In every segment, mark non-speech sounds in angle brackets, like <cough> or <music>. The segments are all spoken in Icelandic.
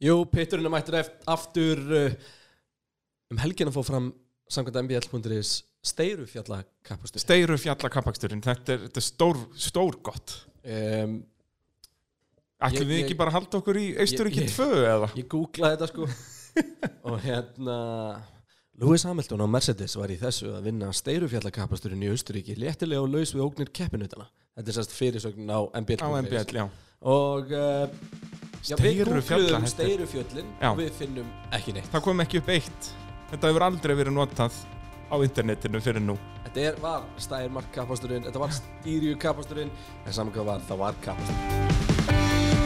Jú, pitturinn er mættur eft- aftur uh, um helgina fór fram samkvæmt mbl.is steiru fjalla kappastur Steiru fjalla kappaksturinn, þetta er, þetta er stór, stór gott um, Ætlum Ég- við ég- ekki bara að halda okkur í Austuríki Ég- ég- 2 eða? Ég googlaði þetta <laughs> sko og hérna Lewis Hamilton á Mercedes var í þessu að vinna steirufjallakapasturinn í Austuríki léttilega og laus við ógnir keppinutana Þetta er sérst fyrirsögnin á MBL Á MBL, já Og uh, já, við Steiru fjalla googluðum þetta er- steirufjöllin Já. og við finnum ekki neitt Það kom ekki upp eitt Þetta hefur aldrei verið notað á internetinu fyrir nú Þetta er, var stærmarkkapasturinn, þetta var stýrjukapasturinn En saman hvað var, það var kapasturinn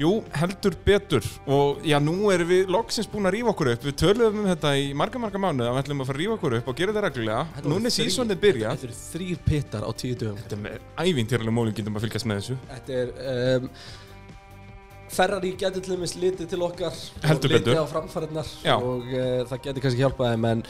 Jú, heldur betur og já, nú erum við loksins búin að rífa okkur upp við töluðum um þetta í marga marga mánuð að við ætlum að fara að rífa okkur upp og gera þetta reglulega Þetta voru Núna er þrír- sísonið byrja Þetta eru þrýr pittar á tíu dögum Þetta er ævintýraleg mólingindum að fylgjast með þessu Þetta er um, Ferrari getur til dæmis litið til okkar Heldur og litið betur. á framfærinar Já. og uh, það getur kannski hjálpaði en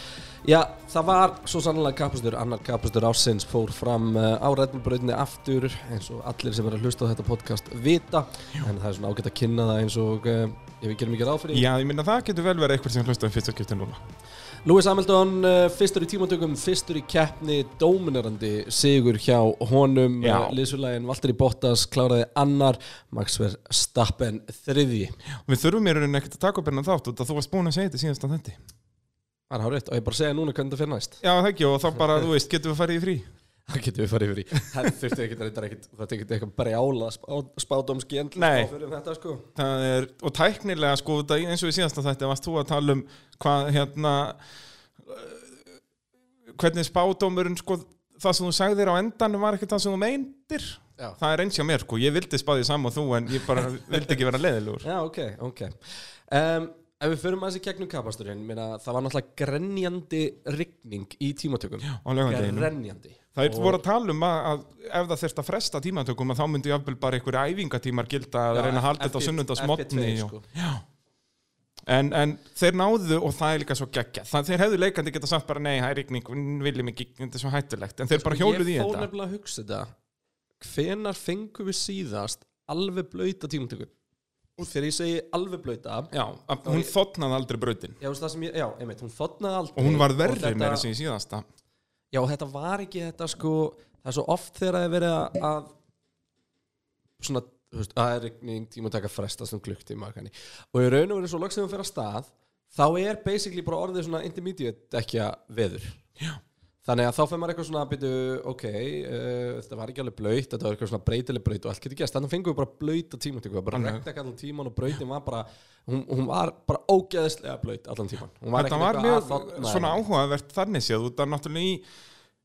já, það var svo sannlega kapastur annar kapastur ásins fór fram uh, á Red Bull brautinni aftur eins og allir sem er að hlusta á þetta podcast vita en það er svona ágætt að kynna það eins og uh, ef við gerum ekki ráð fyrir Já, ég minna það getur vel verið eitthvað sem hlustaði fyrst að skipta núna Lewis Hamilton, uh, fyrstur í tímatökum, fyrstur í keppni, dóminerandi sigur hjá honum, Já. liðsulægin Valtteri Bottas kláraði annar, Max Verstappen þriðji. og Við þurfum mér ekkert að taka upp hérna þátt og þú varst búin að segja þetta síðast á þetta Það er hárið, og ég bara segja núna hvernig það fyrir næst. Já, það ekki, og þá bara, þú veist, getum við að fara í frí Það getum við farið yfir í. Það þurfti ekki, það er ekkit, það er ekkit eitthvað brjála spádomsgjönd Nei. fyrir um þetta, sko. það er, og tæknilega sko þetta, eins og í síðasta þætti varst þú að tala um hvað hérna eh, hvernig spádómurinn sko það sem þú sagðir á endanum var ekki það sem þú meintir Já. það er eins hjá mér sko, ég vildi spáði saman og þú en ég bara vildi ekki vera leiðilegur Já, ok, ok. Um, ef við förum aðeins í gegnum kapasturinn, minna, það var náttúrulega grenjandi rigning í tímatökum. Já, á lögandeginu grenjandi. Það er Og- voru að tala um að, að ef það þurft að fresta tímatökum að þá myndi jafnvel bara einhverja æfingatímar gilda að Já, reyna að FP halda þetta á sunnundasmotni FP2, og... sko. Já. en, en þeir náðu og það er líka svo geggja það, þeir hefðu leikandi geta sagt bara nei, það er ykning, viljum ekki, þetta er svo hættulegt en þeir bara hjóluð Sko, í ég fór þetta nefnilega að hugsa þetta hvenar fengum við síðast alveg blöyta tímatöku og þegar ég segi alveg blöyta Já, að, hún ég- þotnaði aldrei brautin já, veistu það sem ég, já einmitt, hún þotnaði aldrei og hún var verri þetta- þetta... meira sem í síðasta já, og þetta var ekki þetta sko það er svo oft þegar það er verið að- að svona, þú veist, að regning tímataka frestast um klukktíma kanni. og í raun og verið svo loksum við fyrir að stað þá er basically bara orðið svona intermediate ekki að veður Já, Þannig að þá fyrir maður eitthvað svona að byrju, ok, uh, þetta var ekki alveg blöyt, þetta var eitthvað svona breytileg blöyt og allt getur gæst. Þannig fengum við bara blöyt á tíma, það var bara Alveg. rekta allan tíman og bröytin var bara, hún, hún var bara ógeðslega blöyt allan tíman. Hún var þetta ekkert var eitthvað mjög að þorna svona eða- áhugavert þannig séð út að náttúrulega í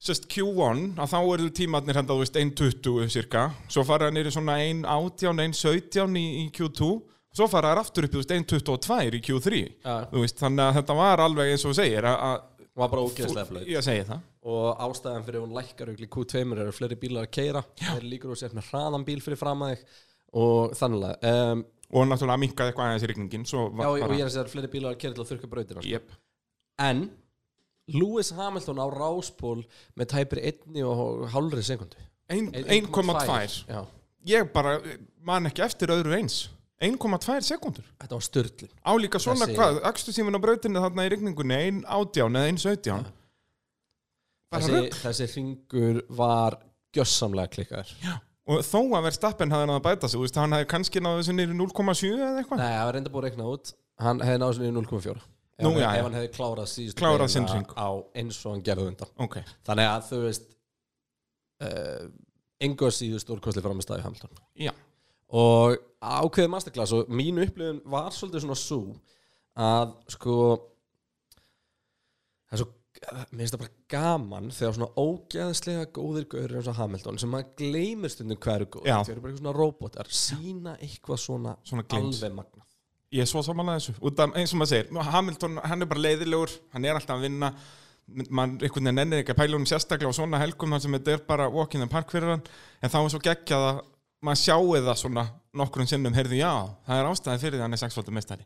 sérst Q1 að þá eru tímatnir henda þú veist 1.20 cirka, svo fara hann í svona 1.18, 1.17 í, í Q2 svo fara þær aftur upp í þú veist 1.22 í Q3 Já. Þú veist, þannig að þetta var alveg eins og þú segir að- að Hún var bara ógeðslega blöyt. Ég segi það Og ástæðan fyrir að hún lækkar ykkur í Q2 eru fleiri bílar að keira, það er líkur og sér með hraðan bíl fyrir fram að þig og þannig að, um, og náttúrulega minkaði eitthvað aðeins í rigningin svo já, var og bara ég er að segja að fleiri bílar að keira til að þurka brautina. sko. Jep. En Lewis Hamilton á ráspól með tæpir einni og hálfri sekundu. Ein- 1,2 Já, ég bara man ekki eftir öðru eins 1,2 sekundur þetta var störtlun álíka svona Þessi- hvað, akstusímin á brautinu þarna í rigningunni, ein átján eða ein sautján bara þessi, rugg þessi ringur var gjössamlega klikkaður Nei, og þó að verðstappen hafði náða að bæta sig, þú veist, hann hafði kannski náða þessu niður í 0,7 eða eitthvað það var reynda búið að reikna út Hann hefði náðu sinni í 0,4 Ef Nú, hann- já, já. Ef hann hefði klárað síðust Klárað sinn hring. á eins og hann gerði á undan ok, Þannig að þú veist uh, Engu að síðust úrkostli framistæði Hamilton já, og ákveðið masterclass og mín upplifun var svolítið svona svo að sko það er svo mér finnst það bara gaman þegar svona ógeðslega góðir gaurir eins og Hamilton sem maður gleymir stundum hverju góð Já. þeir eru bara eitthvað svona robotar sína eitthvað svona, Svona glimpse. alveg magna ég er svo samanlega þessu út af, eins og maður segir, Hamilton, hann er bara leiðilegur hann er alltaf að vinna mann einhvern veginn ennir ekki að pæla honum sérstaklega á svona helgum þar sem þetta er bara walk in the park fyrir hann en þá er svo geggjað að maður sjáu það svona nokkrum sinnum, heyrðu já, það er ástæði fyrir því að hann er sexfaldur meistari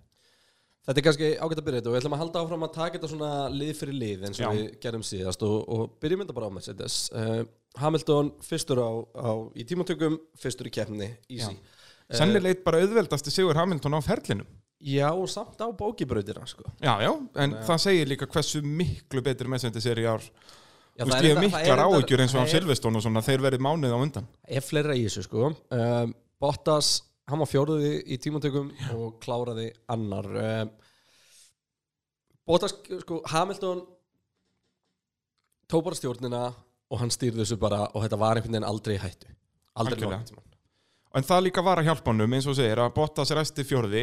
Þetta er kannski ágætt að byrja þetta og við ætlum að halda áfram að taka þetta svona lið fyrir lið eins og Já. við við gerðum síðast og, og byrjum þetta bara á Mercedes uh, Hamilton fyrstur á, á í tímatökum, fyrstur í keppni easy. Eh, Sennilegt bara auðveldasti Sigur Hamilton á ferlinum Já, og samt á bókibrautina sko. Já, já, en það segir líka hversu miklu betri Mercedes er í ár Já, Þú veist, er ég hef enda- miklar enda- áhyggjur eins og af það er- Silveston og svona, þeir verið mánuð á undan er fleira í þessu sko um, Bottas, hann var fjóruði í tímatökum og kláraði annar um, Bottas, sko, Hamilton tók bara stjórnina og hann stýrði þessu bara og þetta var einhvern veginn aldrei í hættu aldrei Algjörlega. nokkuð tímann En það líka var að hjálpa honum, eins og segir, að Bottas resti fjörði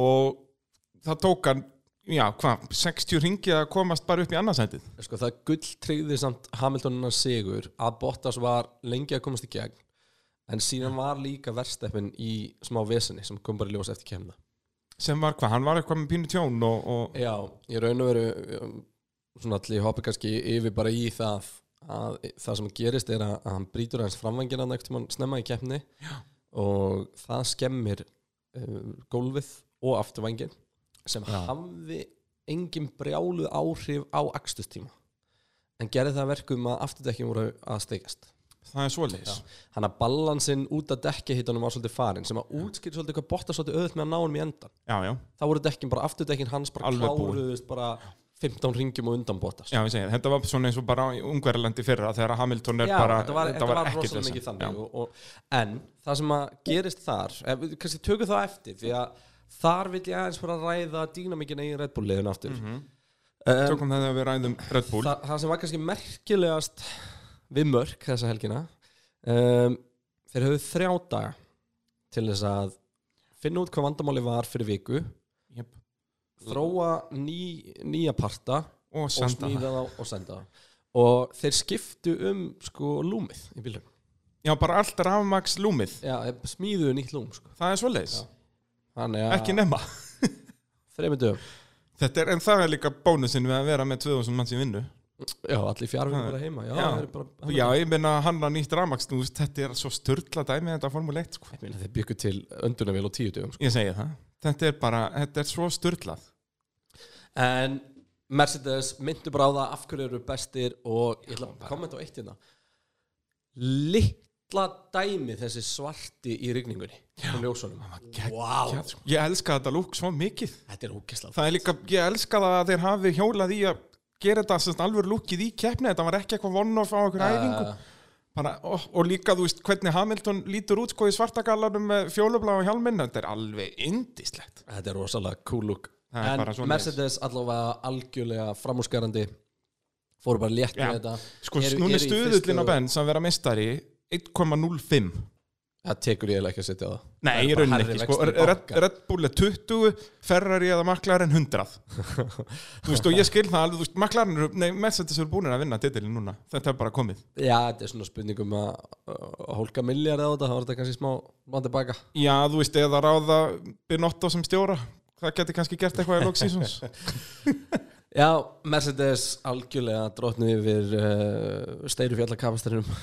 og það tók hann, já, hvað, 60 ringi að komast bara upp í annarsætið. sko, það gull treyði samt Hamiltonina sigur að Bottas var lengi að komast í gegn en síðan var líka versteppin í smá vesenni sem kom bara í ljós eftir kemna Sem var hvað, hann var eitthvað með pínu tjón og, og Já, ég raun og veru um, svona allir hoppi kannski yfir bara í það að það sem gerist er að, að hann brýtur hans framvængina nægt um hann snemma í keppni Já. og það skemmir um, gólfið og afturvængin sem hafði engin brjáluð áhrif á akstustíma en gerði það að verkum að afturdekkjum voru að steikast það er svoleiðis. hann að balansinn út að dekki hittanum var svolítið farin sem að útskýr svolítið hvað botta svolítið auðvitað með að ná hann í endan Já, já, þá voru dekkin bara afturdekkin hans bara Alveg búin. kláruðust bara 15 ringjum og undan bótast já, ég segi, þetta var svona eins og bara í Ungverjalandi fyrra þegar Hamilton er Já, bara, þetta var, þetta var ekkert rosalega vesen. mikið Já. þannig og, og, en það sem að gerist þar eh, við kannski tökum það eftir því að þar vil ég aðeins fara að ræða dýnamikina í Red Bull liðun aftur um, Mhm. Tökum þetta að við ræðum Red Bull. það, það sem var kannski merkilegast við mörk þessa helgina um, þeir höfðu þrjá daga til þess að finna út hvað vandamáli var fyrir viku Jep. þróa ný, nýja parta Og og senda það. smíða þá og senda þá og þeir skiptu um sko lúmið í bílum Já, bara allt rafmags lúmið. já, smíðu nýtt lúm sko Það er svoleiðis. Já. þannig að Ekki nema. þreymur dögum Þetta er, en það er líka bónusin við að vera með 2000 manns í vinnu. já, allir fjárfinn Það- bara heima já, já. þeir eru bara Já, ég meina hann að nýtt rafmaksnús, þetta er svo störla dæmi þetta Formule 1, sko. Ég meina, þeir byggu til öndunarvél og tíu dögum sko. Ég segi það. Þetta er bara, þetta er svo störlað. en Mercedes myndu bara á það af hverju eru bestir og ég ætla að kommenta á eitt hérna litla dæmi þessi svarti í rigningunni og ljósunum wow, Já, sko. Ég elska þetta lúk svo mikið. þetta er ógeslað Það er líka, ég elska það að þeir hafi hjólað í að gera þetta semst alveg lúkið í keppni. Þetta var ekki eitthvað one-off á okkur æfingu. Bara, ó, og líka, þú veist, hvernig Hamilton lítur út sko í svartagallanum með fjólubláa hjálminn. Þetta er alveg indislegt. Þetta er rosalega cool look Það er En bara svoleiðis. Mercedes allavega algjörlega framúrskarandi fóru bara létt Já. með þetta Sko, Eru- núna eru er í stuðullin fyrstu- á Benz að vera meistari 1,05. Það tekur ég eiginlega ekki að setja á það Nei, Það í eru bara rauninni hærri ekki, sko, vextir Red, banka. Red Bull er 20, Ferrari eða McLaren 100 Þú veist, og ég skil það alveg, þú veist, McLaren, eru- nei, Mercedes eru búin að vinna titilin núna, þetta er bara komið Já, þetta er svona spurningum að að hólka milljar á þetta, það var þetta kannski smá mann tilbaka. Já, þú veist, eða ráða Binotto sem stjóra, það geti kannski gert eitthvað í loksísons <laughs> Já, Mercedes algjörlega drotnið yfir uh, steiru fjallakapasturinnum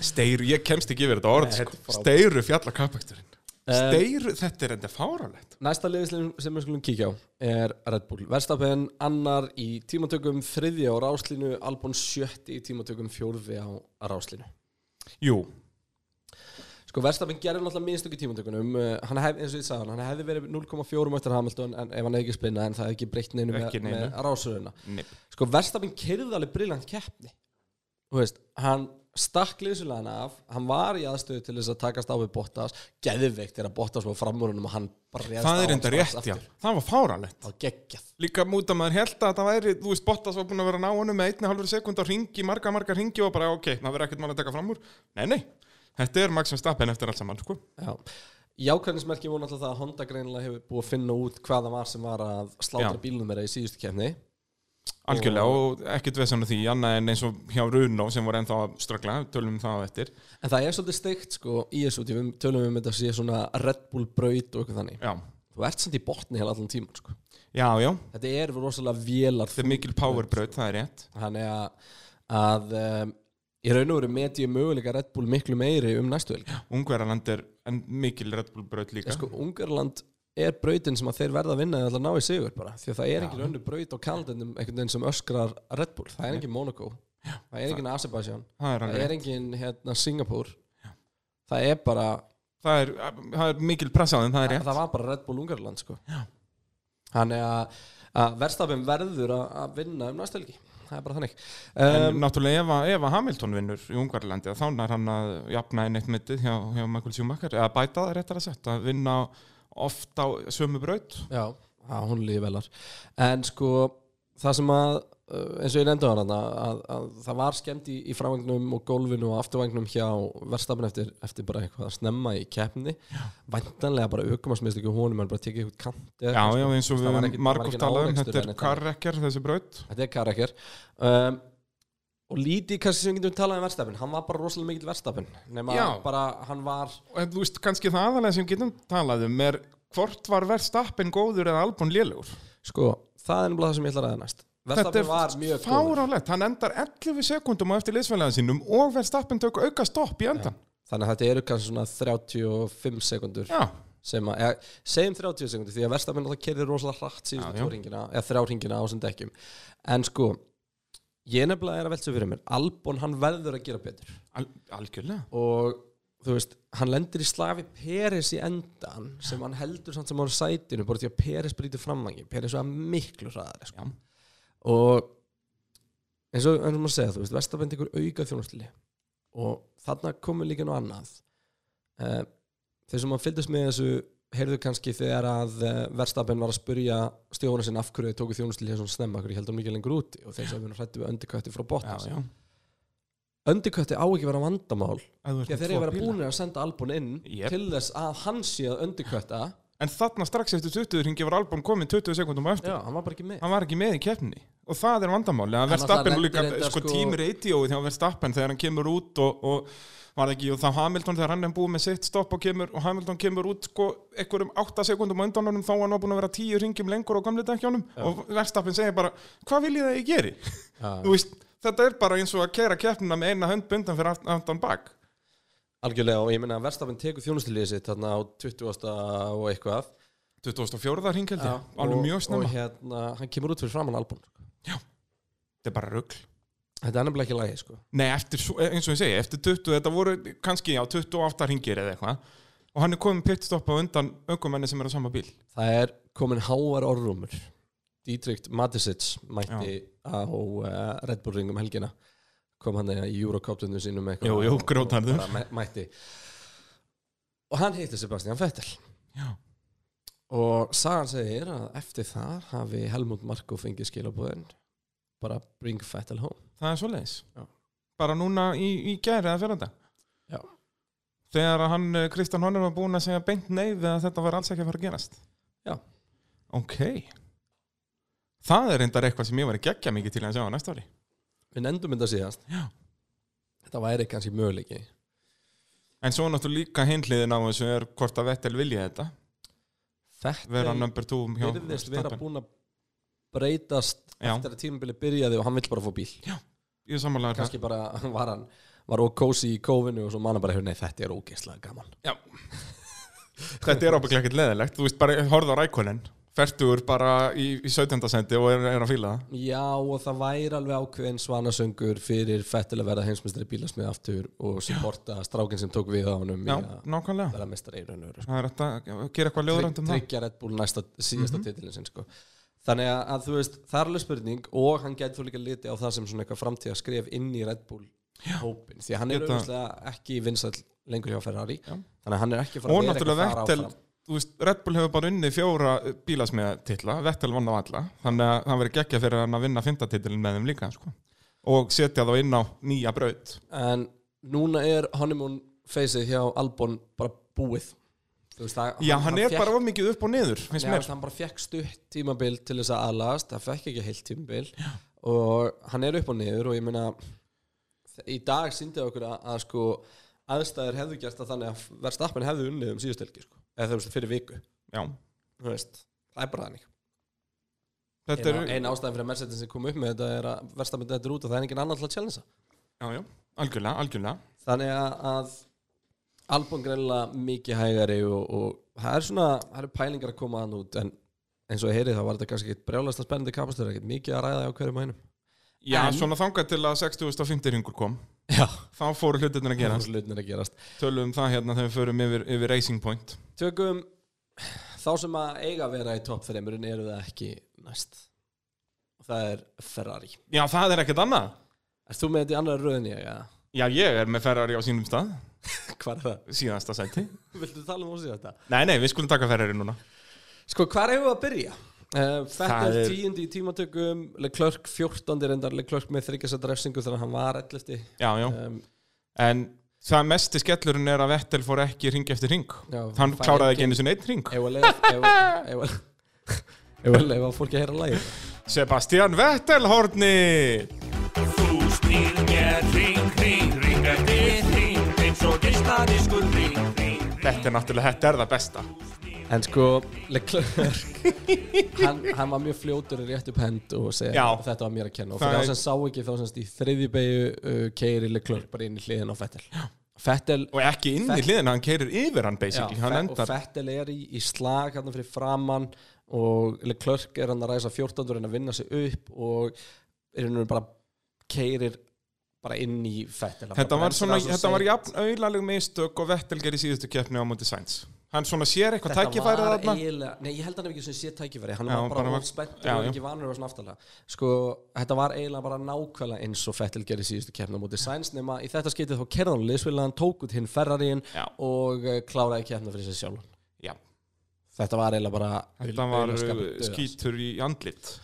Steiru, ég kemst ekki yfir þetta orð, Nei, þetta er sko, frábært. Um, Steiru fjallakapaksturinn Steiru, þetta er enda fáralegt Næsta liði sem sem við skulum kíkja á er Red Bull. Verstapen annar í tímatökum þriðja á ráslínu, Albon sjötti í tímatökum fjórði á ráslínu. Jú, Sko Verstappen gerði náttúrulega minnstök í tímatökunum uh, hann hefði, eins og ég sagði hann, hann hefði verið 0,4 mættar Hamilton en ef hann hefði ekki spinnað en það hefði ekki breytt neinu með, Ekki neinu. með rásuruna nei, Sko Verstappen kerði alveg briljant keppni Þú veist, hann stakk liðsulagana af, hann var í aðstöðu til þess að takast á við Bottas, geðveikt þegar Bottas var framúrunum og hann bregðast á það er hann enda strax rétt, já, aftur. það var fáralegt Það var geggjað Líka múta maður held að það væri, þú veist, Bottas var búin að vera að ná honum með einni halvur sekund á ringi, marga, marga ringi og bara, ok, það verður ekkert mál að taka fram úr. Nei, nei, þetta er Max Verstappen eftir allt saman, sko. Já, jákvæðnismerki voru náttúrulega það að Honda greinilega hefur búið að finna út hvað það var sem var að slátra Já. bílnum þeirra í síðustu keppni Algjörlega, og ekkert veðsann á því, annað en eins og hjá Runo sem voru ennþá að ströggla, tölum við það á eftir. En það er svolítið steikt sko í þessu út, við tölum við mynd að sé svona Red Bull braut og eitthvað þannig. Já, Þú ert samt í botni hela allan tíman sko. já, já, Þetta er rosalega vélar þetta er mikil powerbraut, það er rétt. þannig að, að um, í raun og veru met ég möguleika Red Bull miklu meiri um næstu helgi. Ungverjaland er en mikil Red Bull braut líka. En sko Ungarland er brautin sem að þeir verða að vinna eða ætla að ná í sigur bara því að það er Já. engin önnu braut á kalendinum einhvern veginn sem öskrar Red Bull, það er engin Monaco það er engin Azerbaijan það er það alveg er engin hérna, Singapur það er bara það er, það er mikil pressaðin, það er rétt það var bara Red Bull Ungarland sko. þannig að, að verðstafin verður að, að vinna um næstelgi það er bara þannig En um, náttúrulega ef, að- ef að Hamilton vinnur í Ungarlandi þá nær hann að jafna einn eitt mittið hjá, hjá Michael Schumacher eða bæta það réttar að setja að vinna oft á sömu braut já, á, hún lífi velar en sko það sem að uh, eins og ég nefndi á hann að, að, að það var skemmt í, í frávagnum og gólfinu og afturvagnum hjá verðstafin eftir, eftir bara eitthvað að snemma í keppni væntanlega bara aukumarsmiðslik og honum hann bara tekið eitthvað kant eða Já, eitthvað, já, sko. eins og Það var við ekkit- margum það var talaðum, enginn árekstur eða þetta er neitt þannig. karrekjar þessi braut Þetta er karakter um, Og lítið kannski sem við getum talað um verðstafin Hann var bara rosalega mikill verðstafin Nefn að Já. bara hann var En þú veist, kannski það aðalega sem getum talað um er hvort var Verstappen góður eða Albon lélegur Sko, það er nefnilega það sem ég ætla að ræða næst Þetta Verðstafin var er mjög góður fáránlegt, hann endar 11 sekundum á eftir liðsfælega sínum og Verstappen tök auka stopp í endan Þannig að þetta eru kannski svona 35 sekundur Já, sem að, eða, segjum 30 sekundur því að verðstafin alltaf kerði rosalega hratt síðustu Já, já. tvo ringina, eða þrjá ringina á sem dekkjum En sko, ég nefnilega er að velta þessu fyrir mér Albon, hann verður að gera betur al algjörlega og þú veist, hann lendir í slafi Peres í endan sem hann heldur samt sem hann sætinu bara því að Peres brýtur framvangi Peres var miklu hraðar sko. Já. og eins og, eins og maður segja, þú veist, Vestabend ykkur auka þjónustili og þarna komur líka nú annað Eh, þeir sem að fylgdast með þessu heyrðu kannski þegar að eh, Verstappen var að spurja stjóðuna sinna af hverju þau tóku þjónustili svona snemma, af hverju heldur hann mikið lengur úti og þeir sem við hrættu við öndikvætti frá Bottas Já, já öndikvætti á ekki að vera vandamál Ef þú ert Því að með þeir eru tvo að vera bíla. búinir að senda Albon inn Jep. til þess að hann sé að undirkvætta En þarna strax eftir 20 ringi var Albon komin 20 sekundum á eftir. Já, hann var bara ekki með Hann var ekki með í keppni. Og það er vandamáli. Að Hann Verstappen náttúrulega líka, lendir þetta, sko, sko- tím radioið hjá Verstappen þegar hann kemur út og, og var það ekki, og þá Hamilton þegar hann er búið með sitt stopp og kemur, og Hamilton kemur út sko einhverjum 8 sekundum á undanunum þá hann var búin að vera 10 ringjum lengur á gamli dækjónum og Verstappen segir bara, hvað vil ég það ég geri? Þú veist, þetta er bara eins og að kæra keppnina með eina hönd bundan fyrir aft- aftan bak. Algjörlega og ég meina að Verstafinn tekur þjónustilíði sitt þarna á 20. og eitthvað 2004 ringheldi, alveg Og- mjög Og snemma. hérna, hann kemur út fyrir framann Albon Þetta er bara rugl. Þetta er nefnilega ekki lægi sko Nei, eftir, svo- eh, eins og ég segi, eftir 20, þetta voru kannski já, 28 ringir eða eitthvað og hann er komin pitstopp á undan aukumenni sem er á sama bíl. Það er komin háar orrumur Dietrich Matisic mætti á uh, Red Bull ringum helgina kom hann eða í Eurocoptunum sínum með eitthvað Jú, jú, og- og grjótharður. bara mæ- Mætti Og hann heitir Sebastian Vettel Já. Og sagan segir að eftir það hafi Helmut Marko fengið skilabúðin bara bring Vettel home Það er svoleiðis. Já. Bara núna í, í gæri eða fyrir þetta. Já. Þegar að hann, eh, Kristján Honner var búin að segja beint neyð að þetta var alls ekki að fara að gerast. Já. Ok. Það er reyndar eitthvað sem ég var að gegja mikið til að sjá á næsta ári. Við nefndum þetta síðast Já. Þetta væri kannski möguleiki En svo náttúrulega líka hinliðin á þessu er hvort að Vettel vilja þetta. Vera Vettel number two hjá virðist vera Verstappen. búin að breytast Já. eftir að tímabili byrjaði og hann vill bara fá bíl Ég er sammála þarna. kannski bara var hann var og kósi í kófinu og svo manna bara hefur nei þetta er ógeðslega gaman Já Þetta er ábygglega ekkert leðilegt Þú veist bara, horfðu á rækonin Fertur bara í, í 17. sendi og er, er að fíla það Já og það væri alveg ákveðin svanasöngur fyrir Vettel að verða heimsmyndstari bílasmið aftur og supporta strákinn sem tók við á honum í Já, að nákvæmlega verða mestari í raun og veru sko. Það er hægt að gera eitthvað ljóðrænt um það Mhm. tryggja Red Bull næsta síðasta mm titilin sinn sko. þannig að, að þú veist, það er alveg spurning og hann gæti þú líka liti á það sem svona eitthvað framtíða skref inn í Red Bull hópin, því að hann er Geta- auðvitað ekki vinsall lengur hjá Ferrari Já. þannig að hann er ekki fara að Og vera náttúrulega þar Vettel áfram. Þú veist, Red Bull hefur bara unnið fjóra bílasmiðatitla Vettel vann á alla Þannig að það verið geggja fyrir hann að vinna fymtatitlin með þeim líka sko. Og setja þá inn á nýja braut en núna er honeymoon feysið hjá Albon bara búið Þú veist, það, Já, hann er fékk- bara of mikið upp og niður finnst Já, mér. hann bara fekk stutt tímabil til þess að aðlast, það fekk ekki heilt tímabil og hann er upp og niður og ég meina í dag síndi okkur að, að sko aðstæður hefðu gert að þannig að verðstappin hefðu unnið um síðustelgi sko, eða þú veist fyrir viku Já, þú veist, það er bara þannig þetta eina, er eina ástæðan fyrir að Mercedes sem kom upp með þetta er að verðstappin þetta er út og það er engin annar til að challengea Já, já, algjörlega, algjörlega þannig að, að Albon greinlega mikið hægari og, og það er svona, það eru pælingar að koma hann út en eins og ég heyrið þá var þetta kannski ekkit brjálasta spennandi kapastur, ekkit mikið að ræða á hverjum hænum Já, En- svona þangað til að 60.50 ringur kom Já, Þá fóru hlutirnir að gerast hlutin er að gerast Tölum um það hérna þegar við förum yfir, yfir Racing Point Tökum þá sem að eiga að vera í topp þreimurinn eru það ekki næst og það er Ferrari Já, það er ekkert annað Er þú með þetta í annar röðin ég? Ja? Já, ég er með Ferrari á sínum stað Hvað er það? Síðasta <laughs> sæti Viltu tala um ósið þetta? Nei, nei, við skulum taka Ferrari núna Sko, hvað hefur að byrja? Uh, Það Fettel er- tíundi í tímatökum Leclerc 14. reyndar Leclerc með þryggjasa drefsingu þannig að hann var 11. Já, já Um, En það mesti skellurinn er að Vettel fór ekki ring eftir ring já, Hann fær kláraði engin- ekki einu sinni einn ring Ef að leiða Ef að leiða fólki að heyra lagið Sebastian Vettel horni Þú snýr mér ring, ring, ring eftir ring eins og geisladiskur ring, ring, ring Þetta er náttúrulega, þetta er það besta En sko, Leclerc hann, hann var mjög fljótur í rétt upp hend og segja Já. að þetta var mér að kenna og Það fyrir er- þá sem sá ekki þá semst í þriðju beigju uh, keiri Leclerc bara inn í hliðin á Fettel Fettel Og ekki inn í Vettel- hliðina, hann keirir yfir hann Já, basically Hann Fe- og endar Fettel er í, í slag hann fyrir framann og Leclerc er hann að ræsa 14 og reyna að vinna sig upp og er hann bara keirir bara inn í Fettel Þetta var, svona, þetta var jafn auðlaleg mistök og Vettel gerði síðustu keppni á móti Sainz. Hann svona sér eitthvað tækifærið var þarna. eiginlega, nei ég held hann hef ekki sem sé tækifæri hann Já, var bara bara var- of spennt já, og já. ekki vanur að vera svona aftalega sko, þetta var eiginlega bara nákvæmlega eins og Fettel gerði síðustu keppna móti Sainz nema í þetta skeitið þá kerðan liðsvilega hann tók út hinn Ferrarin Já. og eh, kláraði keppna fyrir sig sjálf Já, þetta var eiginlega bara þetta var uh, eh, auðlega skapur dauðans. skítur í andlit.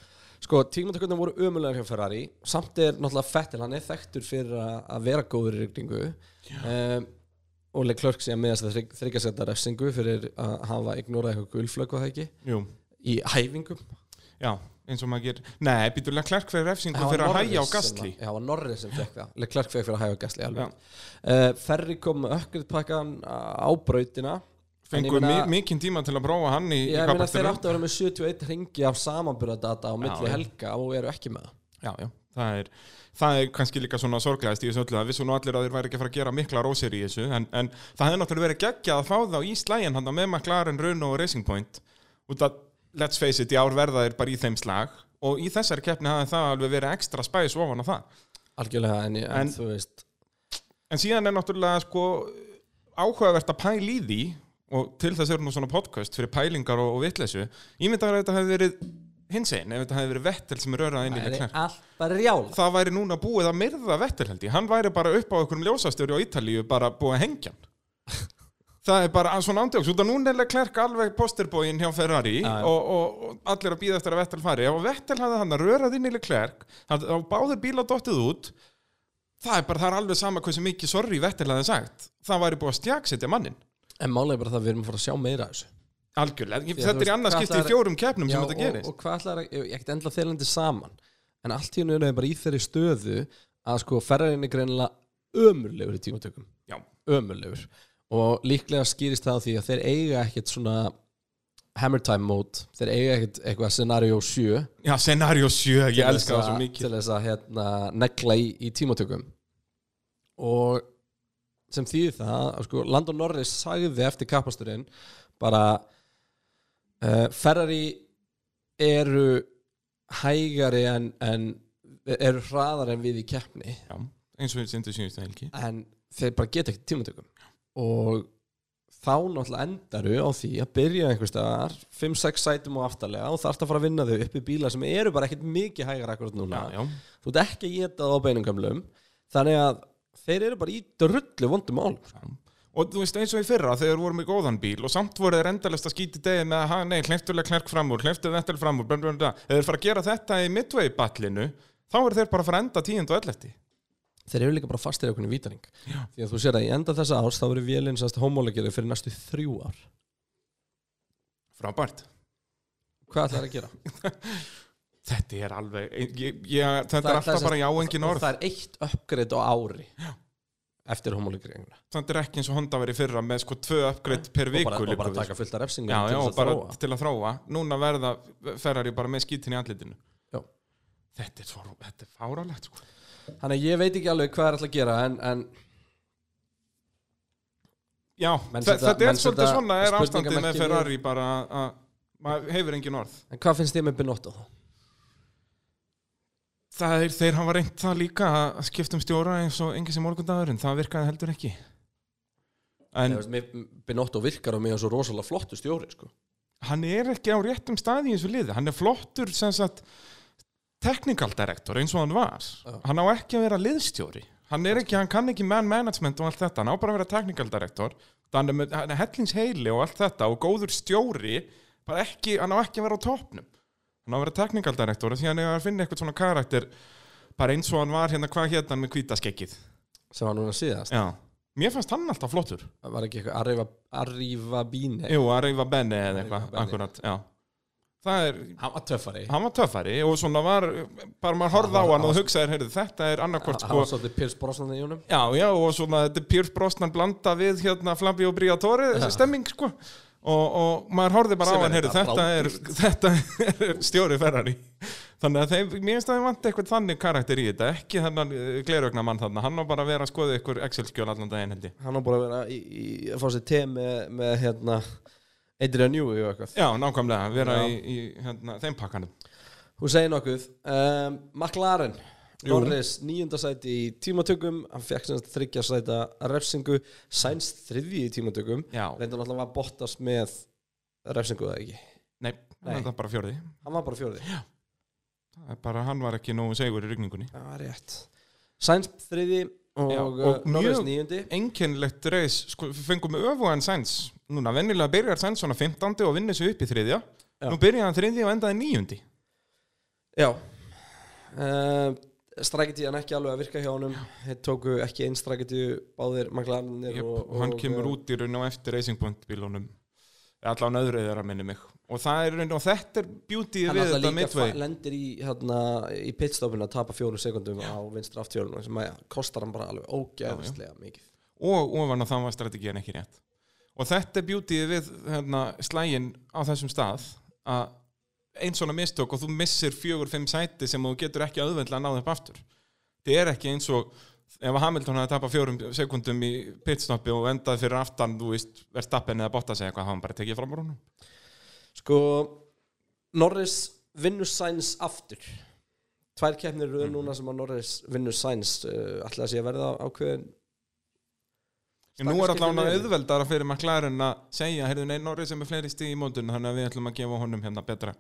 Sko, tímatökurnar voru ömulegar hjá Ferrari samt er náttúrulega Fettel, hann er þekktur fyrir að að vera góður í rigningu um, og Leclerc sé að miðast að þryggja setja refsingu fyrir að hafa ignorað eitthvað gulflögg og það ekki Jú, í hæfingum já, eins og maður gerir. Nei, býtulega Klerk fyrir refsingu Það var fyrir að Norris hægja á sem gasli. að- Já, það var Norris sem fekk það Leclerc fekk fyrir að hægja á gasli Já. alveg uh, Ferri kom með ökkurpakkan á brautina En ég Fengu meina- mi- mikinn tíma til að prófa hann í, Já, í ég meina þeir kapastunum. áttu að vera með 71 ringi af samanburðadata á milli já. helga og eru ekki með það Já, já, það er, það er kannski líka svona sorglegast í þessu öllu að vissu nú allir að þeir væri ekki að fara að gera mikla rósir í þessu en, en það hefði náttúrulega verið geggja að fá þá í slægin hann með McLaren, Renault og Racing Point út að, let's face it, í ár verða þeir bara í þeim slag og í þessari keppni hafði það alveg verið ekstra spæs ofan á það Algjörlega, en, en, En- þú veist en síðan er náttúrulega sko áhugavert að pæla í því og til þess eru nú svona podcast fyrir pælingar og, og vitleysu ímyndaður að þetta hefði verið hinsegin ef þetta hefði verið vettel sem er örað inn í Það Leclerc. er allt bara rjál það væri núna búið að myrða Vettel held ég, hann væri bara upp á einhverjum ljósastjóri á Ítalíu bara búið að hengja hann <laughs> það er bara að svona ándjóks út að núna er Leclerc alveg posterbóin hjá Ferrari Já, já. og, og, og allir að býða eftir að Vettel fari og Vettel hafði hann að rörað inn í Leclerc hann á báður bíla dottið út það er bara, það er alveg sama hversu mikið sorry Vettel hafði sagt, það væri búið að stjaksetja mannin En málega bara það að við erum að fara að sjá meira af þessu algjörlega, Já, ég- þú þetta er í veist, annað hvað skipti ætlar- í fjórum keppnum Um sem þetta og, gerist og hvað ætlar að, ég ég get endla þeirlandi saman En allt í hennu er þau bara í þeirri stöðu að sko ferðarinn er greinilega ömurlegur í tímatökum já, Ömurlegur Og líklega skýrist það á því að þeir eiga ekkert svona hammer time mode Þeir eiga ekkert eitthvað scenario 7 já scenario 7, ég til elska þess það að- svo mikið Til þess að hérna, negla í, í tímatökum Og sem þýði það að, sko, Landon Norris sagði eftir kappasturinn bara uh, Ferrari eru hægari en, en eru hraðar en við í keppni já, eins og við sindum síðustu helgi en þeir bara geta ekkert tímatökum og þá náttúrulega endaru á því að byrja einhvers staðar 5-6 sætum og aftarlega og þarft að fara að vinna þau upp í bíla sem eru bara ekkert mikið hægar akkurat núna já, já þú ert ekki að geta það á beinum gamlum þannig að þeir eru bara í drullu vondum mál Og þú veist eins og í fyrra þegar voru með góðan bíl og samt voru þeir endalist að skýti degi með að ha, nei, hleyftulega klærk fram úr, hleyftu þetta fram úr, blablabla. Ef þeir fara að gera þetta í midway ballinu, þá eru þeir bara að fara að enda tíund og ellefti. þeir eru líka bara fastir í okkur vítaring Já. því að þú sér að í enda þessa árs þá eru vélinn sannst homologirði fyrir næstu þrjú ár Frábært. hvað ætlar það að gera? Þetta er alveg, ég, ég, þetta Það- er það er alltaf bara já engin og orð. það er eitt uppgrið á ári Já. eftir homologirðinguna Þetta er ekki eins og Honda verið í fyrra með sko tvö uppgritt per og viku. bara, og liggur bara við. taka fullt af refsingum Já, til já, þess og að bara þróa. til að þróa. Núna verða Ferrari bara með skítin í andlitinu. Já. Þetta er, svo, þetta er fáralegt sko. þannig að ég veit ekki alveg hvað er alltaf að gera en, en Já, Menn þe- setja- þetta menn er svolítið setja svona er ástandið með spurningamerki Ferrari bara að maður hefur engin orð En hvað finnst þið með Benotto þá? Það er, þeir hafa reynt það líka að skipta um stjóra eins og engin sem morgundagurinn, það virkaði heldur ekki En Ég veist, mér- Benotto virkar á mig að svo rosalega flottu stjóri sko. hann er ekki á réttum staði í þessu liði, hann er flottur sem sagt technical director eins og hann var Já. hann á ekki að vera liðstjóri hann er ekki, hann kann ekki man management og allt þetta hann á bara að vera technical director hann er, með, hann er hellings heili og allt þetta og góður stjóri, bara ekki hann á ekki að vera á topnum hann á að vera technical director því hann er að finna eitthvað svona karakter bara eins og hann var hérna hvað hérna hann með hvítaskekkið sem var núna síðast Já. mér fannst hann alltaf flottur var ekki eitthvað Arriva, Arriva Bíne Jú, að reyfa benni eða eitthvað, Benni. akkurat já. það er hann var töffari hann var töffari og svona var bara maður horfði á Hann var- hann og hugsaði heyrðu, þetta er annarkvort hann sko var svolítið Piers Brosnan í honum já, já, og svona þetta er Pierce Brosnan blanda við hérna Flabi og Briatore þessi stemming sko og, og maður horfði bara Sem á er hann heyrðu, þetta þetta, er, þetta er stjóri Ferrari þannig að þeim, mér finnst að þeim vanti eitthvað þannig karakter í þetta ekki þennan glerögna mann þarna hann á bara að vera að skoða ykkur Excel-skjöl allan daginn held ég hann var búin að vera í, í, að fá sér te með, með hérna Adrian Newey og eitthvað já, nákvæmlega, vera Já. í, í hérna, þeim pakkanum hún segir nokkuð um, McLaren Jú. Norris nýjunda sæti í tímatökum hann fekk sem sagt þriggja sæta refsingu Sainz þriðji í tímatökum já, reyndan alltaf að bóttast með refsingu eða ekki nei, Nei. þetta er bara fjörði hann var bara fjórði bara hann var ekki nógu segur í rigningunni það var rétt Sainz þriðji og, Já, og, og Norris mjög- nýjundi einkennlegt reis, sko, fengum við öfugan Sainz núna, venjulega byrjar Sainz svona 15. og vinnur sig upp í þriðja Já. nú byrjar hann þriðja og endaði níundi Já uh, Strategiðan ekki alveg að virka hjá honum Þeir tóku ekki einn strategiðu Báðir maglarnir Jep, og, og hann kemur út í raun og eftir Racing Point bílunum allan öðru eða að minni mig og, það er, raun- og þetta er beauty Hann við alltaf líka þetta fa- midway lendir í, hérna, í pitstopinu að tapa fjórum sekundum á vinstri aftjólunum sem að kostar hann bara alveg ógæðislega mikið og ofan að það var strategían ekki rétt og þetta er beauty við hérna, slægin á þessum stað að einn svona mistök og þú missir fjögur, fimm sæti sem þú getur ekki auðvendlega að náða upp aftur það er ekki eins og ef Hamilton hafði tapað fjórum sekundum í pitstoppi og endaði fyrir aftan þú veist, verðstappin eða botta segja eitthvað, hann bara tekið fram úr honum Sko Norris vinnur Sainz aftur Tvær keppnir Mhm. röð núna sem að Norris vinnur Sainz uh, Alltaf að sé að verða ákveðin en nú er Stakkaskipti allavega liðinu. auðveldara fyrir McLaren að segja, heyrðu nei, Norris er með fleiri stíð í mótun þannig að við ætlum að gefa honum hérna betra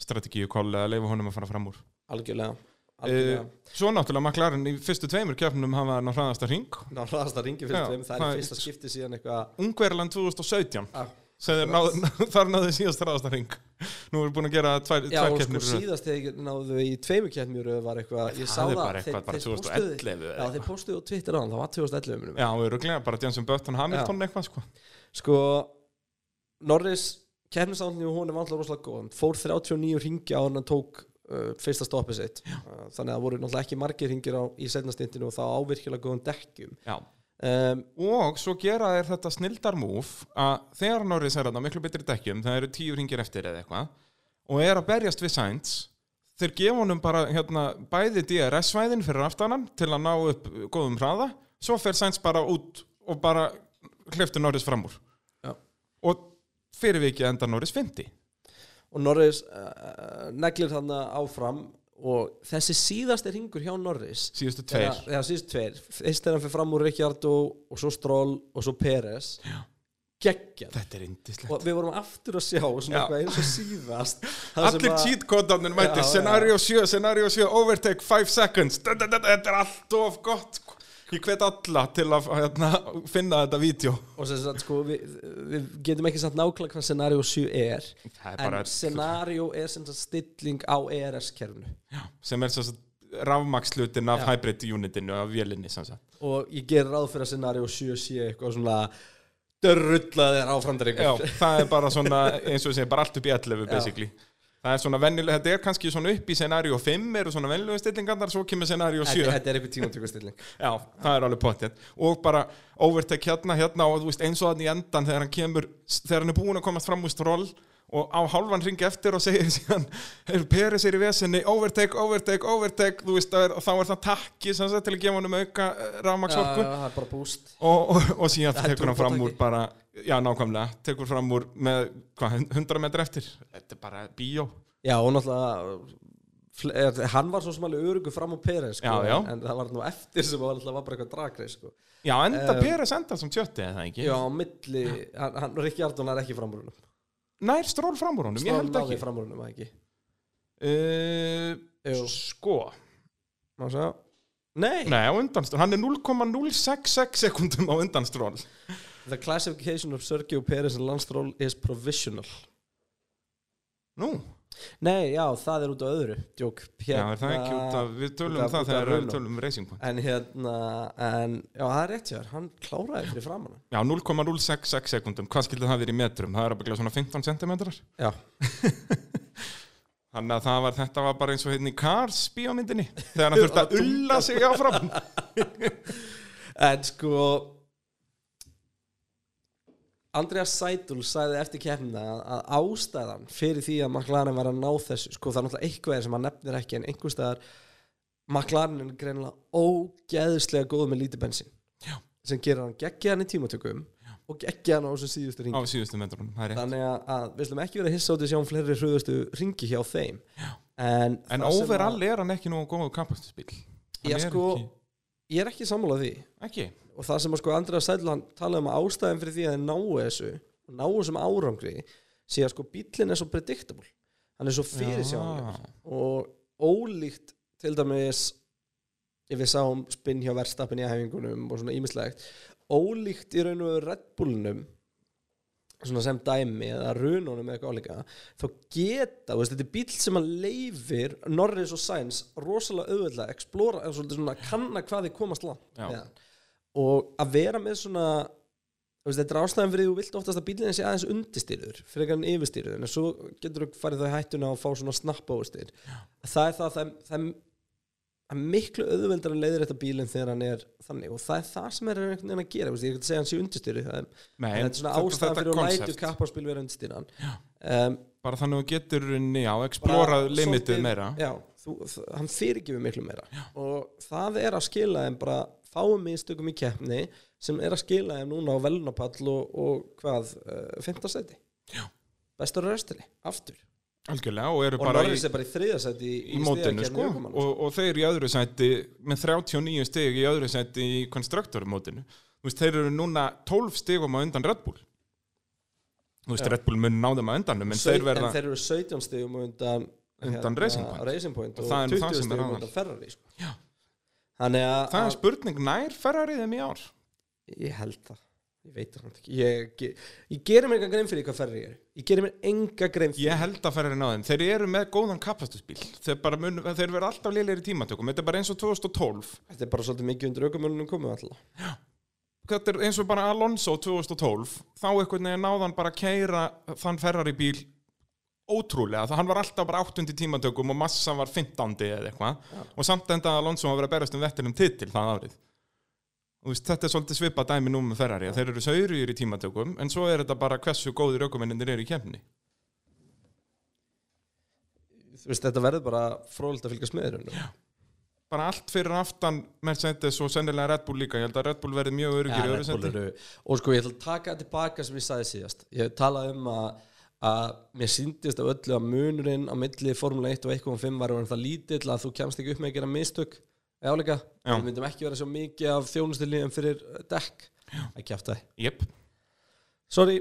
strategíu eða leifa honum að fara fram úr Algjörlega, Uh, algjörlega. svo náttúrulega McLaren í fyrstu tveimur keppnum hafa hann á hraðasta ring Ná, hraðast að ringi fyrir Já, tveim Það það er er- í fyrsta skipti síðan eitthvað Ungverland 2017 ah, sem þeir náðu, <laughs> þar náðu síðast hraðasta ring nú erum við búin að gera Já, tvær, tvær og sko keppnir í röð. síðast þegar náðu í tveimu keppnir var eitthvað, ég sá það það er bara eitthvað, bara 2011 postuðu- eða Já, þeir postuðu á Twitter á hann, það var 2011 minnum. já, við erum glega bara Jensen Button Hamilton eitthvað sko Sko, Norris keppnisáðan og hún er vantlega rosalega góðan fór 39 ringi á hann tók uh, fyrsta stoppið sitt uh, þannig að það voru náttúrulega ekki margir ringir á, í setnastindinu og það ávirkilega góðan dekkjum já. um, og svo gera þeir þetta snildar múf að þegar Norris er þetta miklu betri dekkjum það eru tíu ringir eftir eða eitthvað og er að berjast við Sainz þeir gefa honum bara hérna, bæði DRS-svæðin fyrir aftanan til að ná upp uh, góðum hraða svo fer Sainz bara út og bara hliftur Norris fram úr Já. og fyrir vikið endar Norris 50 og Norris uh, neglir hann áfram og þessi síðasti ringur hjá Norris síðustu Þegar- tveir Já, síðust tveir Fyrst þegar hann fyrir fram úr Ricciardo og svo Stroll og svo Peres Geggjað Þetta er indislegt Og við vorum aftur að sjá svona Já. eitthvað eins og <laughs> síðast það sem Allir að- cheat kodarnir mættir Já, já. Scenario 7, Scenario 7, Overtake 5 seconds Da, da, da, da, Þetta er allt of gott sko. Ég hvet alla til að hérna, finna þetta vídeo Og sem sagt sko við, við getum ekki satt nákvæmlega hvað scenario 7 er Það er En bara scenario er sem sagt stilling á E ERS-kerfinu sem er svo rafmakslutin af Já. hybrid unitinu af vélinni sem sagt. Og ég ger ráð fyrir að scenario 7 sé eitthvað svona Dörrullað er Já, áframdrengur það er bara svona eins og segja, bara allt upp í 11 basically Það er svona venjuleg, þetta er kannski svona upp í scenario 5 eru svona venjulegu stillingarnar, svo kemur scenario 7 Þetta, þetta er eitthvað tímantökustilling Já, það er alveg potið og bara overtake hérna, hérna og þú veist eins og þannig í endan þegar hann kemur þegar hann er búin að komast fram úr stról og á hálfan ringi eftir og segir síðan er Peris er í vesinni, overtake, overtake, overtake þú veist, það er, og þá er það takki sem sagt til að gefa honum auka rafmaksorku Uh, það er bara búst og, og, og síðan Það er tekur hann fram úr turbotakki. bara, já nákvæmlega tekur fram úr með hvað, 100 metri eftir þetta er bara bíó Já, og náttúrulega fle- er- hann var svo sem alveg örugu fram á Peres sko, Já, já. en það var nú eftir sem var, alltaf, var bara eitthvað dragreis sko. já, enda Um, Peris enda sem tjötti eða ekki Já, á milli, hann, hann, Rikki Ardón er ekki framúrunum nær stról fram úr honum, ég held ekki framúrunum, ekki uh, Jú. sko Má sjá Nei, nei, á undan stról, hann er 0,066 sekundum á undan stról the classification of Sergio Peres and Lance Stroll is provisional nú, Nei, já, það er út á öðru Djók, já, er það ekki út af við tölum út um af- út það af þegar við raunum. tölum um racing point En hérna, en, já, það er rétt hjá þér Hann kláraði fyrir framan hann. já, 0,066 sekundum, hvað skildi það verið í metrum það er að byggja svona 15 centimetrar Já, Þannig að það var, þetta var bara eins og hérna í Cars bíómyndinni Þegar hann þurfti að ulla sig áfram En sko Andreas Seidl sagði eftir keppnina að- að ástæðan fyrir því að McLaren var að ná þessu sko það er náttúrulega eitthvað er sem hann nefnir ekki en einhvers staðar McLaren er greinilega ógeðislega góð með lítið bensin Já. sem gerir hann geggjaðan í tímatökum Já. og geggjaðan á þessum síðustu ringi Á síðustu metrunum, það er rétt þannig að, að við slum ekki verið að hissa út í að sjá um fleiri hröðustu ringi hjá þeim Já. en, En það sem overall að, er hann ekki nógu góðu kapastusbíl Ég sko- ég er ekki sammálað því Ekki, og það sem að sko Andrea Sædlan talaði um að ástæðin fyrir því að þeir náu þessu og náu þessum árangri sé að sko bíllinn er svo predictable hann er svo fyrir Já. og ólíkt til dæmis ef við sáum spinn hjá verðstappin í æfingunum og svona ímislegt ólíkt í raun og veru Red Bullnum svona sem dæmi eða rununum eða eitthvað álíka þá geta, þú veist, þetta er bíl sem að leifir Norris og Sainz rosalega auðveldlega, að explora, eða svolítið svona kanna hvað þið komast langt Já. með hann. og að vera með svona þú veist, þetta er ástæðan fyrir því þú vilt oftast að bílinn sé aðeins undistýrður frekar en yfirstýrður, en svo getur þú farið þá í hættuna og fá svona snapp ástýr það er það, það, er- það, er- það er miklu auðveldar að leiðir þetta bílinn þegar hann er þannig og það er það sem er einhvern veginn að gera, þú veist, ég er ekki að segja að hann sé undistýrður það er nei, en þetta er svona ástæðan fyrir að lætu kapparspil vera undirstýran um, Bara þannig að þú getur unni á, explorað limitið meira já, þú, þ- hann fyrirgefur miklu meira og það er að skila þeim bara fáum mistökum í keppni sem er að skila þeim núna á velunapall og, og hvað, uh, fimmtarsæti Já. bestur restinni, aftur Algjörlega, og eru og bara í, Norris er bara í þriðarsæti í, í mótinu stigakeppni sko ökumanna, og, og þeir í öðru sæti með 39 stig í öðru sæti í konstruktormótinu þú veist, þeir eru núna 12 stigum á undan Red Bull þú veist, Já. Red Bull mun ná þeim á undanum en Sau- þeir verða, en þeir eru 17 stegum undan hérna, Undan Racing Point. Racing Point Og og, það er nú það 20 sem er stegum aðal. undan Ferrari sko. Já. þannig að það að- er spurning nær ferrarið þeim í ár Ég held það Ég veit það samt ekki Ég, ge- ég gerir mér enga grein fyrir hvað ferri ég er Ég gerir mér enga grein fyrir ég held að ferrarið ná þeim, þeir eru með góðan kapastusbíl þeir, bara mun, þeir verða alltaf lélir í tímatökum þetta er bara eins og 2012 Þetta er bara svolítið mikið undir aukumönnum komið alltaf þetta er eins og bara Alonso 2012 þá einhvern veginn náðan bara að keira þann Ferrari bíl ótrúlega, það hann var alltaf bara 8. tímatökum og massa var 15. eða eitthvað og samt enda Alonso að vera að berast um vettinum titil það árið Þú veist, þetta er svolítið svipað dæmi nú með Ferrari að þeir eru saurýr í tímatökum en svo er þetta bara hversu góðir aukumenninir eru í kemni Þú veist þetta verður bara frólilt að fylgjast með þér um það. bara allt fyrir aftan Mercedes og sennilega Red Bull líka ég held að Red Bull verði mjög örgir í Red öðru Bull seti eru- Og sko ég ætla að taka það tilbaka sem ég sagði síðast Ég talaði um að, að mér síndist af öllu að munurinn á milli Formule 1 og 1.5 var það lítill að þú kemst ekki upp með að gera mistök eða áleika, Já. við myndum ekki vera svo mikið af þjónustilíðum fyrir eh, dekk ekki aftur það Jep, Sorry,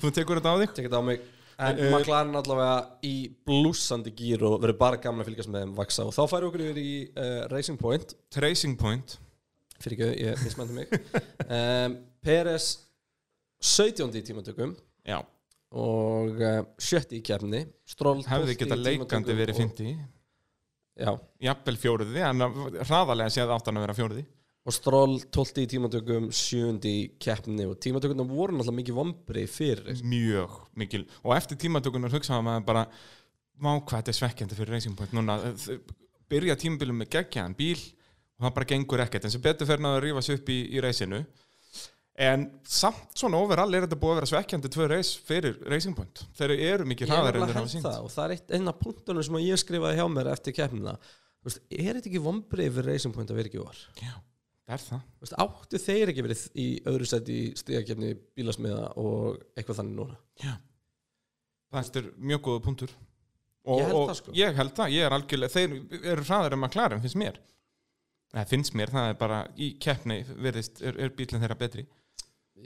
þú tekur þetta á þig tekið þetta á mig en Eh, McLaren allavega í blúsandi gýr og verður bara gaman að fylgjast með þeim vaksa og þá færum við okkur yfir í uh, Racing Point Tracing Point fyrir ekki, ég mismænti <laughs> mig um, Peres 17. í tímatökum Já, og uh, sjötti í kefni Stroll 12. hefði í geta leikandi tímatökum verið og- 50 Já, jafnvel fjóruði, en að- hraðarlega séð áttan að vera fjóruði og Stroll 12. í tímatökum 7. í keppni og tímatökunum voru náttúrulega mikið vombri fyrir mjög mikil, og eftir tímatökunar hugsaði maður bara, má hvað þetta er svekkjandi fyrir Racing Point núna Þau byrja tímabilum með geggjaðan bíl og það bara gengur ekkert, en sem betur fer náðu að rífa sig upp í, í reysinu en samt svona overall er þetta búið að vera svekkjandi tvö reis fyrir Racing Point þeir eru mikið hraðar en þeir hafa sínt það og það er eitt einn af punktunum sem ég skrifaði hjá mér eftir keppnina Þú veist, er þetta ekki vombrið fyrir Racing Point að vera ekki var Já, það er það Þú veist, áttu þeir ekki verið í öðru sæti í stíðakefni bílasmiða og eitthvað þannig núna Það er mjög góða punktur og, Ég held og það, sko. Ég held það, ég er algjörlega Þeir eru hraðar um að klara, finnst mér Það finnst mér, það er bara í keppni virðist, er, er bílinn þeirra betri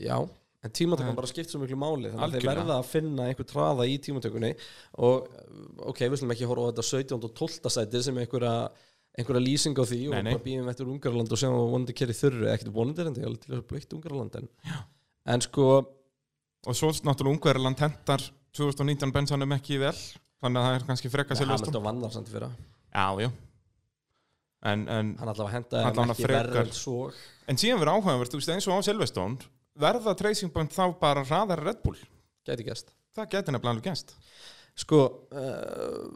Já, en tímatökum Það- bara skipt svo miklu máli þannig að þeir Algjörlega. verða að finna einhver traða í tímatökunni og uh, ok, við slum ekki horfa á þetta 17. og 12. sæti sem einhverja, einhverja lýsing á því og Nei, nei. bara býðum eftir Ungarland og sem að vonandi kerið þurru ekkert vonandi er en það er til að blökt Ungarland en, en sko, Og svo náttúrulega Ungverjaland hentar 2019 bensanum ekki vel Þannig að það er kannski frekka ja, sér löstum Hamilton vann þar samt í fyrra Já, já En, en, hann alltaf henda Hann allavega ekki frekar. verður svo en síðan verður áhugaverð, þú veist eins og á Silveston verða Tracing Point þá bara hraðar Red Bull gæti gæst Það geti nefnilega alveg gæst sko uh,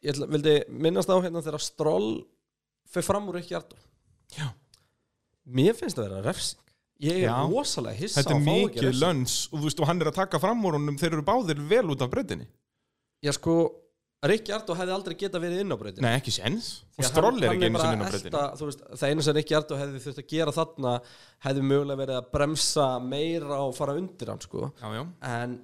ég ætla, vildi minnast á hérna þegar Stroll fyrir fram úr ekki hjartum Já. mér finnst það vera refsing ég er Já. rosalega hissa Þetta er að fá ekki mikið refsingu. lönns og, þú veist, og hann er að taka fram úr honum þeir eru báðir vel út af breytinni Já sko, Rikki Ardó hefði aldrei geta verið inn á breytinu Nei, ekki sens Og Stroll er ekki einu sinni inn á breytinni veist, Það einu sem Rikki Ardó hefði þurft að gera þarna hefði mögulega verið að bremsa meira og fara undir hann sko Já, já, en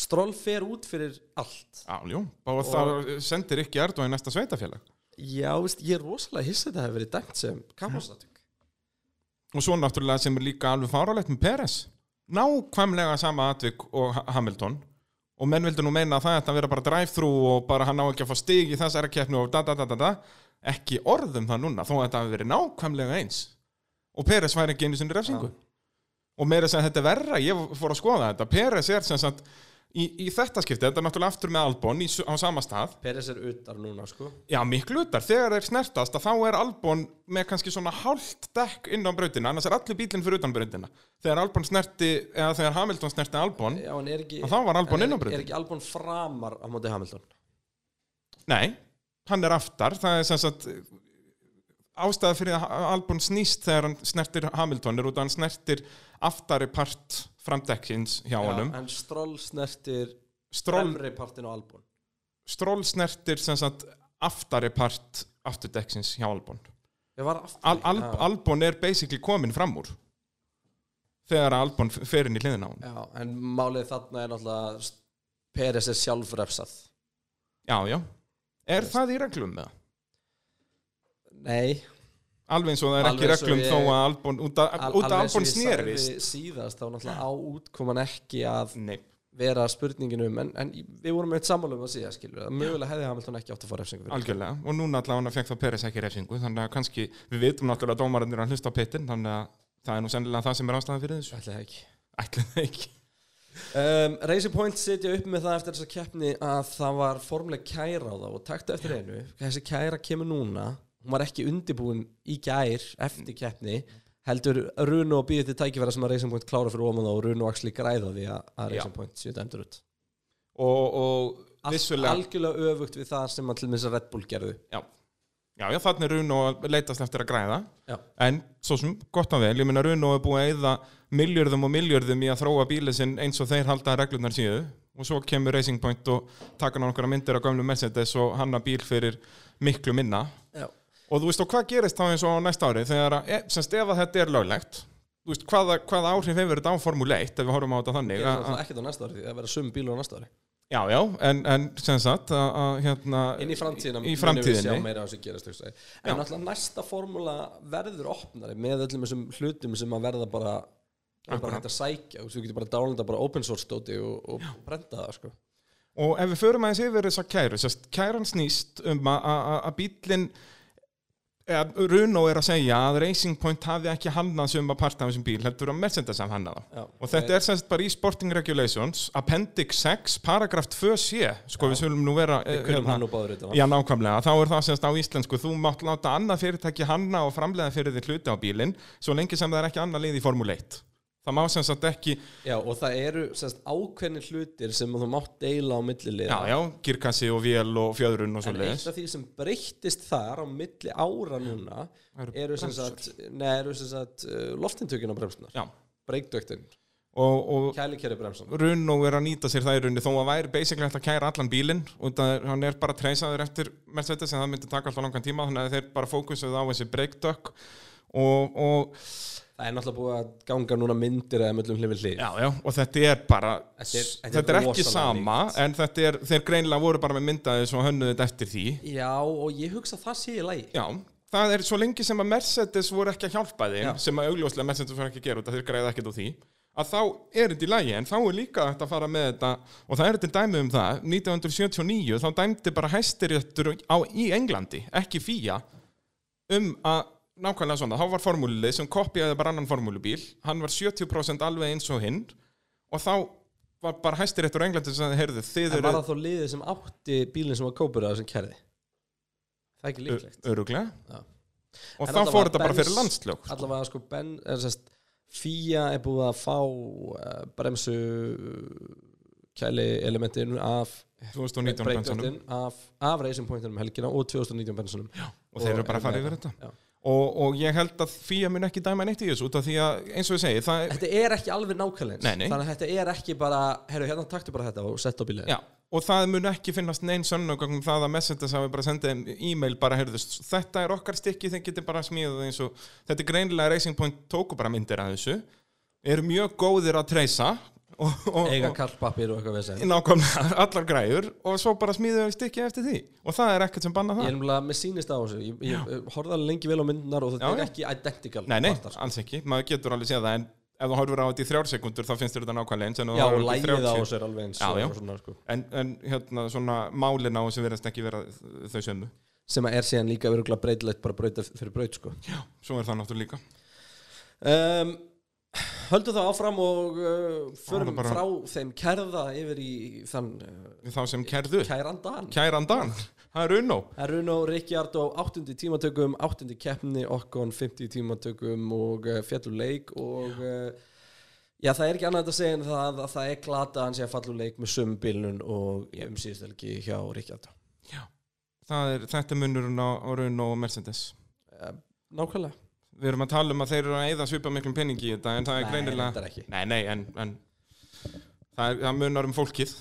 Stroll fer út fyrir allt já, já Bara það sendir ekki Erdó í næsta sveitafélag Já, veist, ég er rosalega hissa að þetta hefði verið dæmt sem kamasatök Og svo náttúrulega sem er líka alveg fárálegt með Peres Nákvæmlega sama atvik og Ha- Hamilton Og menn vildu nú meina að það ætti að vera bara drive-thru Og bara hann á ekki að fá stig í þessari keppnu Og da, da, da, da, da Ekki orðum það núna Þó að þetta hafi verið nákvæmlega eins Og Peres væri ekki einu sinni refsingu og meira sem þetta er verra, ég fór að skoða þetta Peres er sem sagt í, í þetta skipti, þetta er náttúrulega aftur með Albon í, s- á sama stað, Peres er utar núna sko já miklu utar þegar þeir snertast að þá er Albon með kannski svona hálft dekk inn á brautina annars er allir bílinn fyrir utan brautina þegar Albon snerti, eða þegar Hamilton snerti Albon Já, en er ekki, Og þá var Albon en inn á er, brautinni. er ekki Albon framar á móti Hamilton nei, hann er aftar það er sem sagt ástæða fyrir að Ha- Albon snýst þegar hann snertir Hamilton er út að hann snertir aftari part framdekksins hjá honum En Stroll snertir Stroll fremri partinn á Albon stról snertir sem sagt aftari part afturdekksins hjá Albon Ég var aftur Al Al Já. Albon er basically komin fram úr þegar að Albon f- fer inn í hliðina á hann Já, en málið þarna er náttúrulega st- Peres er sjálfrefsað já, já, er það í reglum með það? Nei, alveg eins og það er Alveg ekki í eins og reglum ég- þó að Albon, út af al- út af alveg eins og Albon ég snerist sagði síðast þá náttúrulega á útkoman ekki að nei, vera spurninginum en, en við vorum með eitt sammálum að síða skilur að mögulega hefði Hamilton ekki átt að fá refsingu fyrir algjörlega og núna allavega hann fekk þá Peres ekki refsingu þannig að kannski, við vitum náttúrulega að dómarinn er að hlusta á pittin, þannig að það er nú sennilega það sem er ástæðan fyrir þessu Ætli það ekki ætlum það ekki um, Racing Point sitja upp með það eftir þessa keppni að það var formuleg kæra á það og takta eftir einu þessi kæra kemur núna hún var ekki undibúin í gær eftir keppni heldur Runo og býðið til tækifæra sem að Racing Point klára fyrir ómann og Runo axli græða því að að Racing Point séu dæmdur út og, og Allt, vissulega algjörlega öfugt við það sem að til minnst Red Bull gerðu Já, já, já þannig er Runo að leitast eftir að græða Já. En svo sem gott að vel, ég meina Runo er búið að eyða miljörðum og miljörðum í að þróa bílið sinn eins og þeir halda að reglurnar síðu og svo kemur Racing Point og taka hann okkar myndir af gömlu Mercedes og hanna bíl fyrir miklu minna Já. og þú veist og hvað gerist þá eins og á næsta ári þegar að, e, semst ef að þetta er löglegt þú veist, hvaða, hvaða áhrif hefur þetta á Formule 1 ef við horfum á þetta þannig það að- er ekkert á næsta ári því það verða sum bílur á næsta ári já, já, en, en sem sagt að, að hérna inn í framtíðina munum við í sjá framtíðinni. meira af þessu gerast hugsa ég. en náttúrulega næsta formúla verður opnari með öllum þessum hlutum sem að verða bara er bara Akkurat. hægt að sækja og þú getur bara dálenda bara open source dóti og, og brenda það sko Og ef við förum aðeins yfir þess að kæru, sérst, kæran snýst um að- að að- að bíllinn, eða Runo er að segja að Racing Point hafi ekki hannað suma part af þessum bíl, heldur að Mercedes hafi Já. hannað eh, þá. Og þetta er sérst bara í Sporting Regulations, Appendix 6, paragraf 2c, sko við svolum nú vera... Við hérna- kunnum hann og báður utan að. Já, nákvæmlega. Þá er það sérst á íslensku, þú mátt láta annað fyrirtæki hanna og framlega fyrir þig hluti á bílinn, svo lengi sem það er ekki annað lið í Formule 1. Það má sem sagt ekki já og það eru semst ákveðni hlutir sem þú mátt deila á millilið Já, já, girkassi og vél og fjöðrun og svo en eitt af því sem breyttist þar á milli ára núna Eru eru sem bremsur. sagt, nei, eru sem sagt uh, loftintökin á bremsunar Já, breykdöktin, og, og kælikeri bremsan runn og er að nýta sér það í runni þó að væri basically hægt að kæra allan bílinn og það, er- hann er bara treysaður eftir Mercedes en það myndi taka alltaf langan tíma þannig að þeir bara fókusuðu á þessi breakdökk og, og, það er náttúrulega búið að ganga núna myndir eða möllum hlifið hlið já, já, og þetta er bara Þetta er- þetta er þetta er ekki rosalega sama líkt. en þetta er, þeir greinilega voru bara með myndaðis og hönnuðu þetta eftir því já og ég hugsa að það sé í lagi já, það er svo lengi sem að Mercedes voru ekki að hjálpa þeim Já. sem að augljóslega Mercedes voru ekki að gera þetta þeir greiða ekkert á því að þá er þetta í lagi en þá er líka hægt að fara með þetta og það er þetta dæmið um það 1979 þá dæmdi bara hæstiréttur á, í Englandi, ekki fía um að nákvæmlega svona, þá var formúlið sem kopjaði bara annan formúlubíl, hann var 70% alveg eins og hinn og þá var bara hæstiréttur á Englandi sem sagði, heyrðu, en þið var eru það þá liðið sem átti bílinn sem var kópur eða sem kærði það er ekki líklegt Já. öruglega og En þá allavega fór þetta bara Benz- fyrir landslög allavega sko ben, er, sest, FIA er búið að fá uh, bremsu kæli elementin af 2019 bensunum breykdöktin af, af racing pointinum um helgina og 2019 bensunum og þeir eru bara að fara yfir þetta Já. og, og ég held að FIA mun ekki dæma neitt í þessu út af því að eins og ég segi það, <coughs> Þetta er ekki alveg nákvæmleins Nei, nei. Þannig að þetta er ekki bara Herru, hérna taktu bara þetta og sett á bílið já, og það mun ekki finnast neinn sönnugögnum það að Mercedes hafi bara sendið þeim e-mail bara heyrðust þetta er okkar stykki þeir getur bara smíðað eins og þetta er greinilega Racing Point tóku bara myndir að þessu eru mjög góðir að treysa og, og, Eiga og kallpapir og eitthvað við sem nákvæmlega <laughs> allar græjur og svo bara smíðuðu stykki eftir því og það er ekkert sem banna Ég það er umlega með sýnist á þessu Ég, ég horfði alveg lengi vel á myndunar og þetta Já, er já. ekki identical Nei, nei, partar, sko. alls ekki, maður getur alveg séð það en ef þú horfur á þetta í þrjár sekundur þá finnst þér þetta nákvæmlega eins en ef þú Já, og horfir á þetta í lægið á 30 þessu er alveg eins Já, og já. Svona, sko. En, en hérna svona málin á þessu verðast ekki vera þau sömu Sem að er síðan líka öruglega breytilegt bara breyta fyrir braut sko. Já Svo er það náttúrulega líka um, Höldum það áfram og uh, förum það bara- frá þeim kærða yfir í þann uh, Við Þá sem kærðu kærandan Kærandan Það er unnó Það er Runo Ríkjard á áttundi tímatökum, áttundi keppni, okkon 50 tímatökum og uh, fjallur leik og uh, já, það er ekki annað að segja en það að það er glata að hann sé að fallur leik með sömu bílnun og ég um síðust helgi hjá Ríkjard. Það er þetta er munurinn á, á unnó og Mercedes Nákvæmlega. Við erum að tala um að þeir eru að eyða svipa miklum peningi í þetta en það er greinilega þetta er ekki. Nei, nei, en, en það, er, það munar um fólkið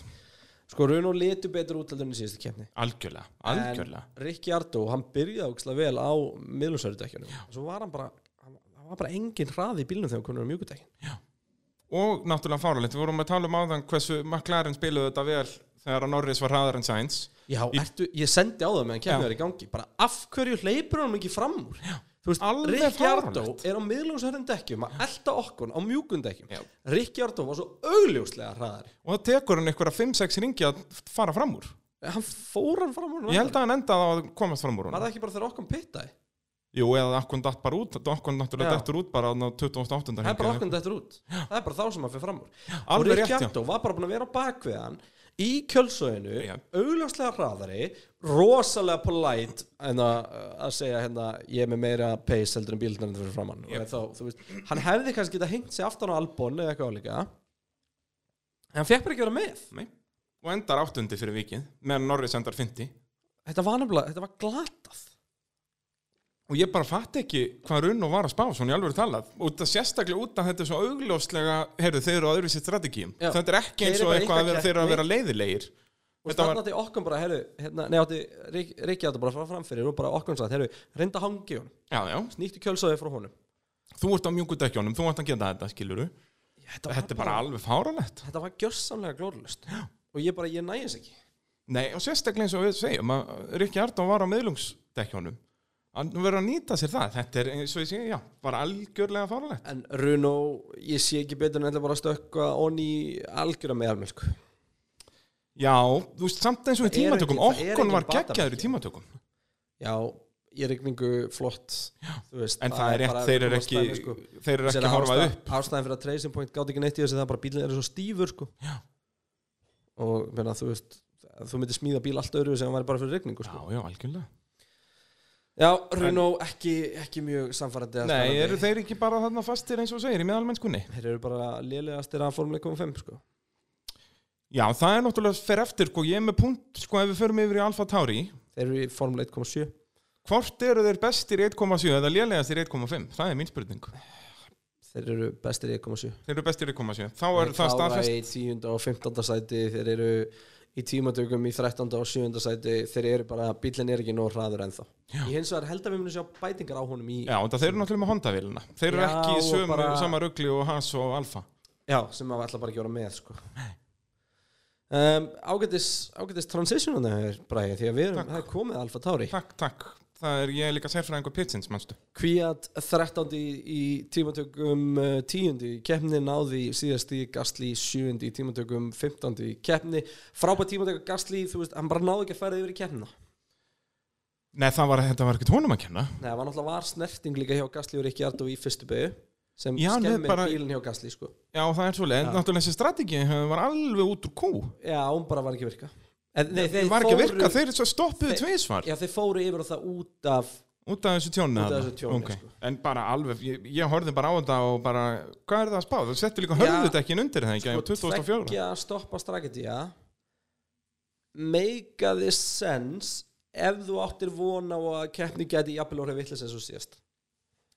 Sko, Runo litur betur útlæðunni síðustu keppni. Algjörlega, algjörlega Ríkjard og hann byrjaði ógslag vel á miðlumsörudekjunum. Svo var hann bara, hann, hann var bara engin hraði í bílnum þegar hann konur á mjúkudekjun. Og náttúrulega fáralegt, við vorum að tala um áðan hversu McLaren spiluðu þetta vel þegar að Norris var hraðar en Sainz Já, ertu, ég sendi á það meðan Já. keppnið er í gangi bara af hverju hleypur hann ekki fram úr Já. þú veist, Alveg Ríkjardó fáránlegt. er á miðlungsherðin dekkjum að elta okkon á mjúkum dekkjum Já. Ríkjardó var svo augljóslega hraðari og það tekur hann einhverja 5-6 ringi að fara fram úr hann fór hann fram úr Ég held að hann endaði á að komast fram úr var honum. það ekki bara þegar okkon pittaði Jú, eða Akkon datt bara út, Akkon náttúrulega Já. dettur út bara á 28. það er bara hringi. okkon þetta út það er bara þá sem hann fyrir fram úr og Alveg rétt, já. Ríkjardó var bara búin að vera á bakveðan í kjölsöginu, Já. augljóslega hraðari rosalega polite en að, að segja hérna ég er með meira pace heldur en bílnarinn fyrir framann yep. þá, þú veist, hann hefði kannski geta hengt sig aftan á albón eða eitthvað álíka en hann fekk bara ekki að vera með Nei. Og endar áttundi fyrir vikið, meðan Norris endar 50. þetta var nefnilega, þetta var glatað Og ég bara fatt ekki hvað runn og var að spá, svona í alveg talað. Og það sérstaklega út að þetta er svo augljóslega, heyrðu, þeir eru á öðru sitt strategíum. Já. Þetta er ekki Þeir eins eru og bara eitthvað að vera, eitthvað þeir eru að keppni. vera leiðilegir. og Þetta þarna var, átti okkur bara, herru hérna, nei, átti Rikki átti bara að fara framfyrir og bara okkur satt, herru, reynda að hangi hún já, já, nýttu kjölsöði frá honum þú ert á mjúkudekjónum, þú ert að geta þetta, skiluru. þetta Þetta er bara alveg fáralegt. þetta var gjörsamlega glórlust og ég bara, ég nægis ekki Nei, og sérstaklega eins og við segjum að Rikki Ardón var á miðlungsdekjónum. Hann verður að nýta sér það. Þetta er, eins og ég segja, já, bara algjörlega fáralegt. En Runo, ég sé ekki betur en ætla bara að stökka onni algjöra sko. með almjölk. Já, þú veist, samt eins og í Það eru tímatökum, ekki- það eru okkon engin var geggjaður í batamerki. tímatökum Já, í rigningu flott. þú Veist, En það er rétt, bara þeir eru góð ekki, stæmi, sko. þeir eru Sér ekki að að horfa ástæð- upp Ástæðan fyrir að tracing point gátt ekki neitt í þessu það er bara bílinn er svo stífur sko. Já. Og menna, þú veist, þú myndir smíða bíl allt öðru sem hann væri bara fyrir rigningu Já, sko. já, algjörlega Já, Runo ekki, ekki mjög samfærandi. Nei, eru þeir ekki bara þarna fastir eins og þú segir í meðalmennskunni? Þeir eru bara lélegastir að Formule 1.5 sko. Já, það er náttúrulega fer eftir, sko, ég er með punkt, sko, ef við förum yfir í Alfa Tauri Þeir eru í Formule 1.7. Hvort eru þeir bestir í 1,7 eða lélegast í 1,5? Það er mín spurning þeir eru bestir í 1,7 Þeir eru bestir í koma sér. Þá er það Kára staðfest. í 10. og 15. sæti þeir eru í tímatökum í 13. og 7. sæti þeir eru bara, bílinn er ekki nóg hraður ennþá ég hins vegar held að við munum sjá bætingar á honum í, Já, þetta þeir eru náttúrulega með Honda-vélina. Þeir eru Já, ekki í og sömu, bara- sama rugli og Haas og Alfa. já, sem að ætla bara að gjóra með sko. um, ágætis ágætis transitionan er bræði því að við erum, það er komið Alfa Tauri Takk, takk. Það er ég er líka sérfræðingur pitsins, mannstu. Kvíat 13. í, í tímatökum eh, 10. í keppni náði síðast í Gastli 7. í tímatökum 15. í keppni frábært tímatökum Gastli, þú veist, hann bara náði ekki að færa yfir í keppnina Nei, það var, þetta var ekkert honum að kenna. Nei, það var náttúrulega var snerting líka hjá Gasly og Ríkjardó í fyrstu byggu sem Já, nei, skemmir bara- bílinn hjá Gasly sko. Já, það er svolítið. En náttúrulega þessi strategi var alveg út úr kú. Já, hún bara var ekki að virka en, nei, Þeir var ekki að virka. Þeir svo stoppuðu tvísvar Já, þeir fóru yfir á það út af út af þessu Út tjónu. af þarna. þessu tjóni, Ok. sko. En bara alveg, ég, ég horfði bara á þetta og bara, hvað er það að spá? Það setti Já, líka Sko, hörðutekkin undir það, ekki? á 2004. tveggja stoppa strategía meikaði sens ef þú áttir von á að keppni gæti jafnvel orðið vittlis eins og síðast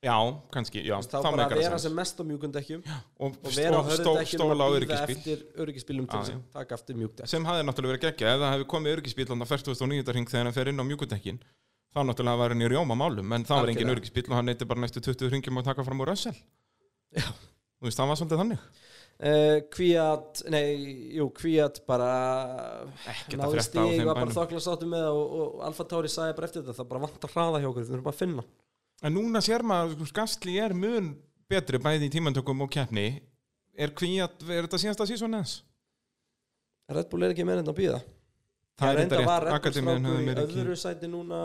Já, kannski, já. þá þá bara meikar að það vera sens. sem mest á mjúkundekkjum og, og vera á og stó, hörðundekkjum stóla á að býða öryggisbíl eftir öryggisbílum til Já, þess já. að taka aftur mjúkdekk sem hafði náttúrulega verið geggja eða hefði komið öryggisbíl á 49. ring þegar hann fer inn á mjúkudekkin þá náttúrulega var hann í rjóma málum en þá var engin Algjörlega. öryggisbíl og hann neyti bara næstu 20 ringjum að taka fram úr össal þú veist, það var svolítið þannig Uh, Kvíat, nei, jú, Kvíat bara Ekkert að náði frétta á stíg þeim og bara bænum. þokla sáttu með það og, og Alfa Tauri sagði bara eftir þetta það bara vantar hraða hjá okkur, við erum bara að finna en núna sér maður, sko, skastli er mun betri bæði í tímantökum og keppni er kvíat, er þetta síðasta sísón eins? Red Bull er ekki meira en að býða það er þetta var Red rétt, Bull akademiðin strákur hefði í meira öðru ekki sæti núna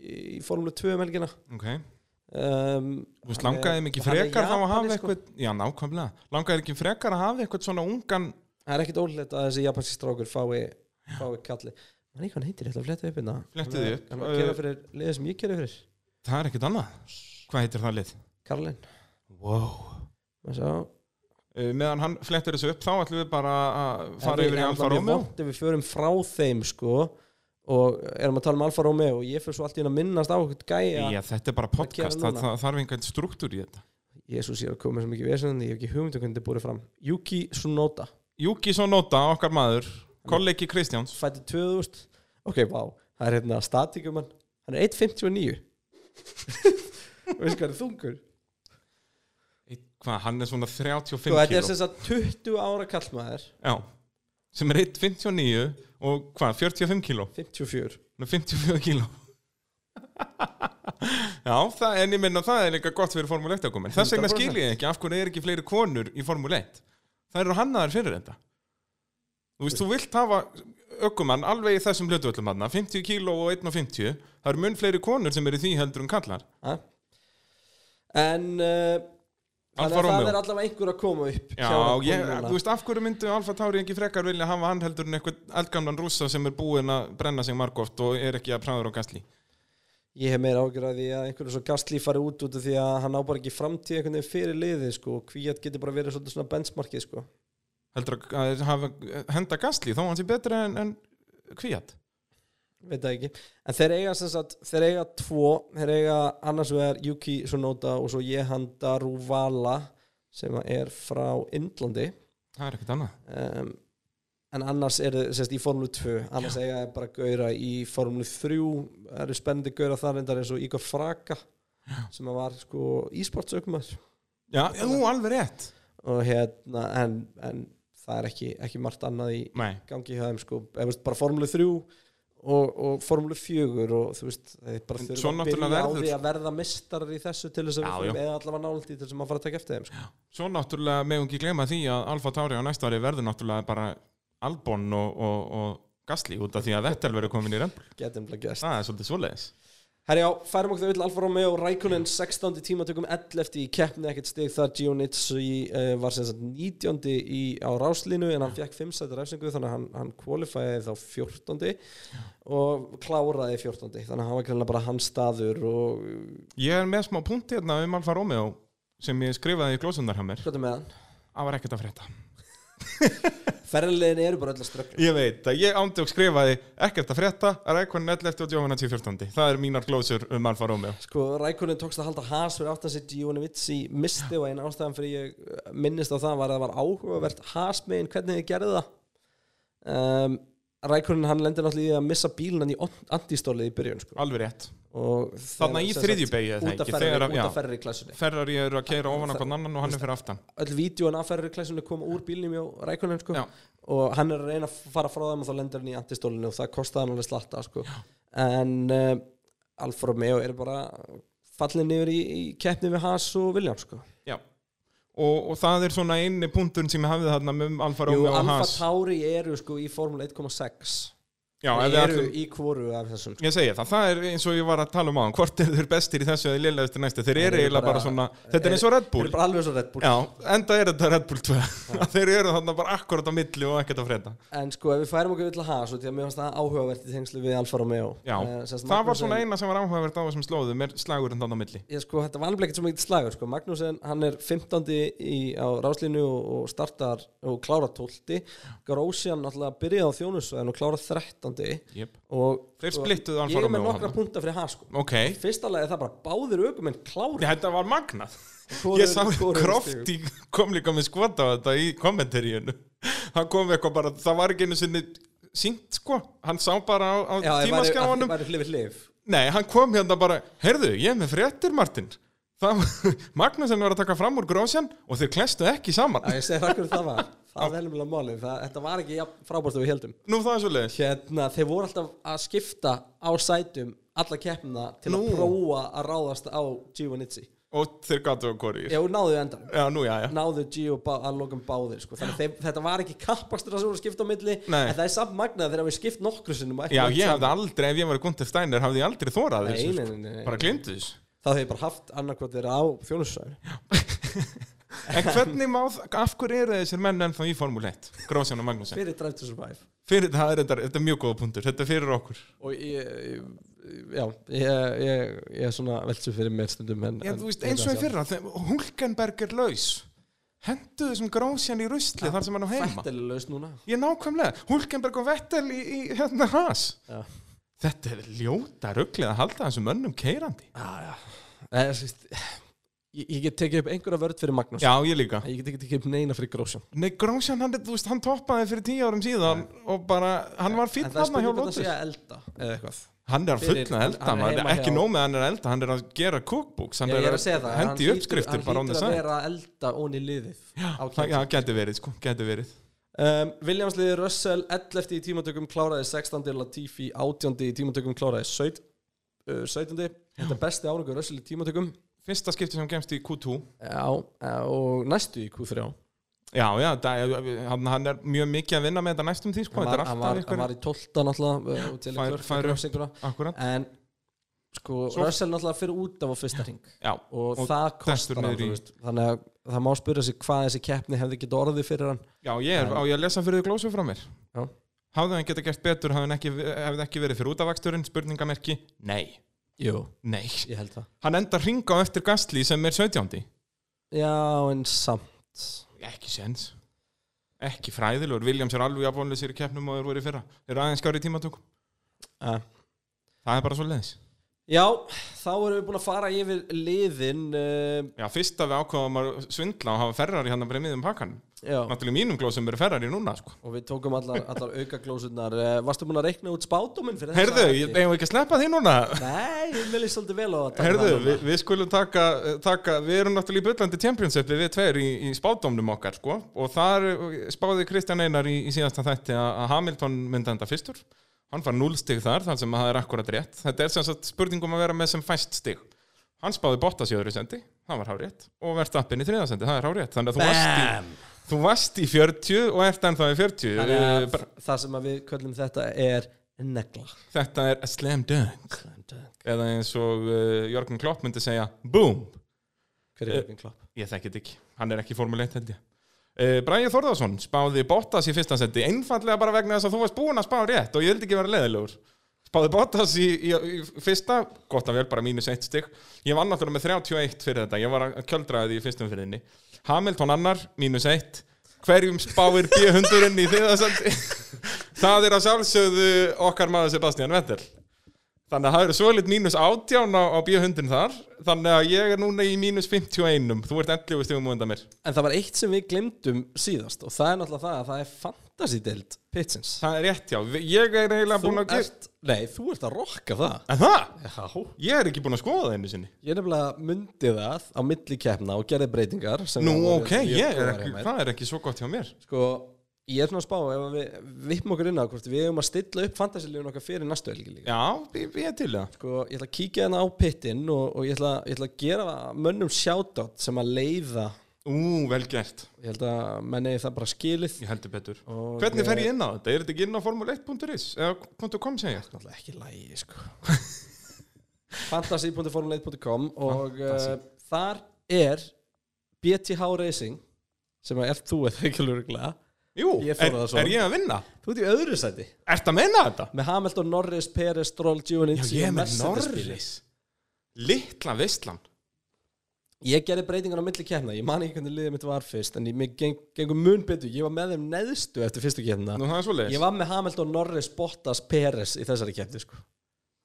í, í formule 2 um helgina ok, um, þú hann veist, er- langaði mikið hann er frekar þá að hafa Japani, sko. eitthvað, já, nákvæmlega langaði ekki frekar að hafa eitthvað svona ungan Það er ekkit ólíklegt að þessi japanski strákur fái, fái kalli Man ekki hvað hann heitir, ég ætla að fletta upp hérna Flettið Hann er- upp. uh, Hann er að gera fyrir liðið sem ég gera fyrir það er ekkit annað, hvað heitir það lið? Karlin wow Sá, Uh, meðan hann flettir þessu upp þá ætlum við bara að fara En yfir í en það Alfa er Romeo vont ef við förum frá þeim sko og erum að tala um Alfa Romeo og ég fyrir svo allt í henn að minnast á eitthvað gæja Já, þetta er bara gerum podcast, við það, núna. það þarf einhvern struktúr í þetta Jésús, ég er að koma með svo mikið vesinn en ég hef ekki hugmynd um hvernig þetta er búið fram Yuki Tsunoda, Júki Sonota, okkar maður, kollegi Kristjáns fætti 2000 ok, vá, það er hérna statikumann hann er <laughs> 1.59 veist hvað er þungur Hvað, hann er svona 35 Sko, þetta kíló er sem sagt 20 ára kallmaður Já, sem er 1,59 og hvað, 45 kíló 54 Hann er 54 kíló <laughs> Já, það, en ég minna það er líka gott fyrir Formule 1 ákomin Þess vegna 100%. skil ég ekki af hverju er ekki fleiri konur í Formule 1 Það eru hannaðar fyrir þetta Þú veist, þú vilt hafa ökumann alveg í þessum hlutvöldum hann 50 kíló og 1,50 Það eru mun fleiri konur sem eru í því heldur en kallar ha? en uh, þannig Alfa að það Romeo er allavega einhver að koma upp Já, hjá Red Bull ég, núna. þú veist, af hverju myndu Alfa Tauri ekki frekar vilja hafa hann heldur en eitthvað eldgamlan rússa sem er búinn að brenna sig margóft og er ekki að práður á gasli Ég hef meira ágjör að því að einhverju svo Gasly fari út út af því að hann á bara ekki framtíð einhvern veginn fyrir liðið sko og Kvíat getur bara verið svolítið svona benchmarkið sko heldur að- að hafa, eh, henda gasli þó hann sé betri en, en kvíat veit það ekki en þeir eiga sem sagt, þeir eiga tvo þeir eiga annars vegar Yuki Sonoda og svo Jehanda Ruvala sem að er frá Indlandi það er ekkert annað um, en annars eru sérst í formlu 2 annars eiga þeir bara gauðra í formlu 3 það eru spennandi gauðra þar reyndar eins og Igor Fraka sem að var sko ísportsaukumar já, jú, alveg rétt og hérna en, en það er ekki, ekki margt annað í nei, gangi hjá þeim sko, eða veist bara formule 3 og, og formule 4 og þú veist, þeir bara En þurfa svo að náttúrulega byrja á verður- því að verða mistarar í þessu til þess að Já, við fyrir já. eða allavega nálægt í til þess að maður fara að taka eftir þeim sko. svo náttúrulega meðum ekki glema því að Alfa Tauri á næsta ári verður náttúrulega bara Albon og, og, og gasli út af því að Vettel verður komin í rennbúl getum bara gæst. það er svolítið svoleiðis Herjá, færum okkur þau vill Alfa Romeo og Rækunin 16. tíma tökum 11. í keppni ekkert stig þar Gionitsi uh, var sem sagt 19. Í, á ráslínu en hann fekk 5 sæti ræfsingu þannig að hann, hann kvalifæði þá 14. og kláraði 14. þannig að hann var greinlega bara hans staður og ég er með smá punkti hérna um Alfa Romeo sem ég skrifaði í glósundarhammer hvað er með hann? það var ekkert að frétta ferðarlegin eru bara öll að ströggla Ég veit að ég ándi og skrifaði ekkert að frétta að rækvæðin 11. og djófana 10.14. Það er mínar glóðsur um Alfa Romeo. Sko, Rækonin tókst að halda has fyrir aftan sitt Jónivitsi misti og einn ástæðan fyrir ég eh, minnist á það var að það var áhugavert has megin hvernig þið gerði það um, Rækonin hann lendir náttúrulega í að missa bílunan í antistólið í byrjun sko. Alveg rétt. og Þarna í þriðju beygju, er það út að ekki? ferri, Þegar að- út já. að ferri í klassunni Ferrari eru að keira ofan á hvern annan og hann er fyrir aftan. öll vídjóin af ferri í klassunni kom úr bílnum hjá Rækonin sko. Já. og hann er að reyna að fara frá þeim og þá lendir hann í antistólinu og það kostaði hann alveg slatta sko. en uh, Alfa Romeo er bara fallin niður í, í keppni við Haas og Williams sko. Já. Og, og það er svona eini punktun sem ég hafði þarna um Alfa Jú, Romeo og Alfa Haas. Tauri eru sko í formule 1,6 Já, ef Þeir við eru ætlum... í hvoru af þessum sko. Ég segi það, það er eins og ég var að tala um á hann Hvort eru þeir bestir í þessu eða lélæðistir næstu Þeir eru eiginlega bara, svona, þetta er eins og Red Þeir Bull eru bara alveg svo Red Bull Já, enda er þetta Red Bull 2 <laughs> Þeir eru þarna bara akkurat á milli og ekkert að freda En sko ef við færum okkur vill að Haas og því að mér fannst það áhugavert í tengslu við Alfa Romeo Já, Eh, sem sagt, það var Magnussen- svona eina sem var áhugavert á þessum slóðum er slagurinn þarna á milli Ég sko, þetta var alveg ekkert svo mikið slagur sko. Magnúsen, hann er 15. Í, á ráslínu og, og startar og klárar 12. Grósian náttúrulega byrjaði á þjónusvæðin og klárar 13. yep. Og sko, Þeir splittuðu Alfa Ég er með Romeo nokkra hana. punta fyrir Haas sko. Ok, Fyrsta lagi er það bara báðir ökumenn klára þetta var magnað Hvorugur- Ég sá hvorugur stigum. Krofti kom líka með skvota á þetta í kommentaríunu Hann kom eitthvað bara, það var ekki einu sinni sínt sko Hann sá bara á, á Já, ég væri- tímaskjáanum að- væri hlið við hlið Nei, hann kom hérna bara, heyrðu, ég er með fréttir, Martin. Það, Magnúsin var <laughs> að taka fram úr grósjan og þeir klestu ekki saman. Já, ég segi það hvernig það var Það er nefnilega málið, það, þetta var ekki jafn frábært og við heldum Nú það er svo leiðis. Hérna, þeir voru alltaf að skipta á sætum alla keppnina til Nú. að prófa að ráðast á Gio og Nitsi Og þeir gáttu að korið. Já, og náðu endan Já, nú já, já. náðu Gio bá, að lokum báðir sko. þannig að þeim, þetta var ekki kappastur að sem voru að skipta á milli Nei. en það er samt magnað þegar við skipt nokkru sinnum og ekki Já, eitt ég saman. hefði aldrei, ef ég var Gunther Steiner, hafði ég aldrei þórað Nei, þessu. nei, nei, sko. nei, nei. Bara glindu þessu. þá hefði ég bara haft annarkvæmt þeirra á þjónusvæðinu En hvernig má, það- af hverju eru þessir menn ennþá í Formule 1? Grósjan og Magnúsin. fyrir Drive to Survive Fyrir það er þetta, þetta er mjög góða punktur. Þetta er fyrir okkur. og ég, ég já, ég, ég, ég er svona veltsu fyrir mér stundum en, Já, en- hérna þú veist, eins og í fyrra, þegar Hulkenberg er laus. Hendu þessum grósjan í rusli þar sem hann á heima. Vettel er laus núna Ég nákvæmlega, Hulkenberg og Vettel í, í hérna has Já. Þetta er ljóta rugglið að halda þessum mönnum keirandi Já, já. Nei, þú veist, ég, ég get tekið upp einhverja vörð fyrir Magnús Já, ég líka Ég get ekki tekið upp neina fyrir Grósjan Nei, Grósjan, hann, er- þú veist, hann toppaði fyrir tíu árum síðan og bara, hann var fínn En það er þarna hjá spurning hvort það sé Lótus að elda eða eitthvað Hann er að fyrir- fullna hann- elda, hann er maður, heima ekki hjá- nóg með að hann er að elda Hann er að gera cookbooks, hann Ég, ég er er að segja það hendi í hann hlýtur- uppskriftir bara Hann on the hlýtur að side vera að elda ón í liðið á Það keppni. já, gæti verið, sko, gæti verið um, Williams liði Russell 11. í tímatökum kláraði 16. Latifi 18. í tímatökum kláraði 17. Uh, 17. Þetta er besti árangur Russell í tímatökum Fyrsta skipti sem gemst í Q2 Já, eh, og næstu í Q3 Já, já, það, er- hann, hann er mjög mikið að vinna með þetta næstum því, sko Hann Þetta var, er hann var, alltaf hann var ykkur, í 12. náttúrulega eh, og til Fær- einhver- fær upp. einhverja- akkurat en sko, Svo- Russell náttúrulega fyrir út af á fyrsta hring Já, og, Og það dettur kostar hann, niður í- þú veist, þannig að það má spyrja sig hvað þessi keppni hefði ekki orðið fyrir hann Já, ég er, En- á ég að lesa fyrir þau glósu frá mér Já. Hafði hann geta gert betur, hafði hann ekki, hefði ekki verið fyrir útavaksturinn, spurningamerki Nei, Jú, nei ég held það Hann enda ringa á eftir Gastli sem er 17. Já, en samt Ekki sens Ekki fræðilegur, Williams er alveg jafnvonlega sér í keppnum og þeir voru í fyrra Þeir eru aðeins skári í tímatökum uh. Það er bara svo leiðis Já, þá erum við búin að fara yfir liðin uh, Já, fyrst að við ákvaðum að svindla og hafa ferrar í hann að breymið um pakkan Já, Náttúrulega í mínum glósum eru ferrar í núna, sko og við tókum allar, allar aukaglósunar uh, Varstu búin að reikna út spátuminn fyrir þessa Herðu, helgi? ég eigum við ekki að sleppa því núna Nei, ég meðlist svolítið vel á þetta Herðu, við, við skulum taka, taka Við erum náttúrulega í byllandi championship Við tveir í, í spádómnum okkar sko. Og þar eh, spáði Kristján Einar í, í síðasta þætti að að Hamilton myndi enda fyrstur Hann far 0 stig þar Þannig sem að það er akkurat rétt Þetta er sem sagt spurningum að vera með sem fæst stig Hann spáði Bottas í öðru sendi Það var hár rétt Og Verstappen í þriða sendi, það er hár rétt Þannig að þú varst, Bam! í, þú varst í 40 og ert ennþá í 40 Þannig Eh, að bara- það sem að við köllum þetta er negla eh, Þetta er a slam dunk Eða eins og uh, Jörgen Klopp myndi segja Boom Hver er Eh, Jörgen Klopp? Ég þekki þetta ekki, hann er ekki formuleitt held ég uh, Bræði Þorðarsson spáði Bottas í fyrsta seti einfallega bara vegna þess að þú varst búin að spá rétt og ég vildi ekki vera leðilegur spáði Bottas í, í, í fyrsta gott að vel bara mínus eitt stygg ég var náttúrulega með 31 fyrir þetta, ég var að kjöldraði því í fyrstum fyririnni Hamilton annar, mínus eitt hverjum spáir B-hundurinn í þriðasandi <laughs> það er að sjálfsögðu okkar maður Sebastian Vettel þannig að það eru svolít mínus 18 á, á B-hundurinn þar þannig að ég er núna í mínus 51 þú ert 11 stífum og undan mér En það var eitt sem við glemdum síðast og það er náttúrulega það að það er fantasy-deild pitsins. það er rétt já, ég er eiginlega Þú búin að gera ert, nei, þú ert að rokka það. en það, Já. ég er ekki búin að skoða það einu sinni Ég nefnilega myndi það á milli keppna og gerði breytingar. sem nú voru ok, mjög ég er góðar ekki, hjá mér. það er ekki svo gott hjá mér Sko, ég er svona að spá, ef að við vippum okkur inn á hvort við hefum að stilla upp fantasy-liðun okkar fyrir næstu helgi líka. já, ég, ég er til það Sko, ég ætla að kíkja hérna á pittin og, og ég, ætla, ég ætla að gera mönnum shoutout sem að leiða. ú, vel gert, Ég held að menni það bara skilið. ég heldur betur Og- hvernig fer ég inn á þetta, er þetta ekki inn á formule1.is eða .com segja ég náttúrulega ekki lægi sko. <laughs> fantasy.formuleit.com og uh, Fantasy. þar er BTH Racing sem að ert þú eða ekki lurglega Jú, Ég er, fór að það svo. er ég að vinna? þú ert í öðru sæti Ert að menna þetta? með Hamilton, Norris, Perez, Stroll, Já, Giovinazzi og ég er með Mercedes-bílinn. Norris Littla veistlan ég gerði breytingar á milli kemna ég man ekki hvernig liðið mitt var fyrst en ég mig geng, gengum mun betur, ég var með þeim neðstu eftir fyrstu kemna Nú það er svo leiðis ég var með Hamilton, Norris, Bottas, Perez í þessari kemni sko.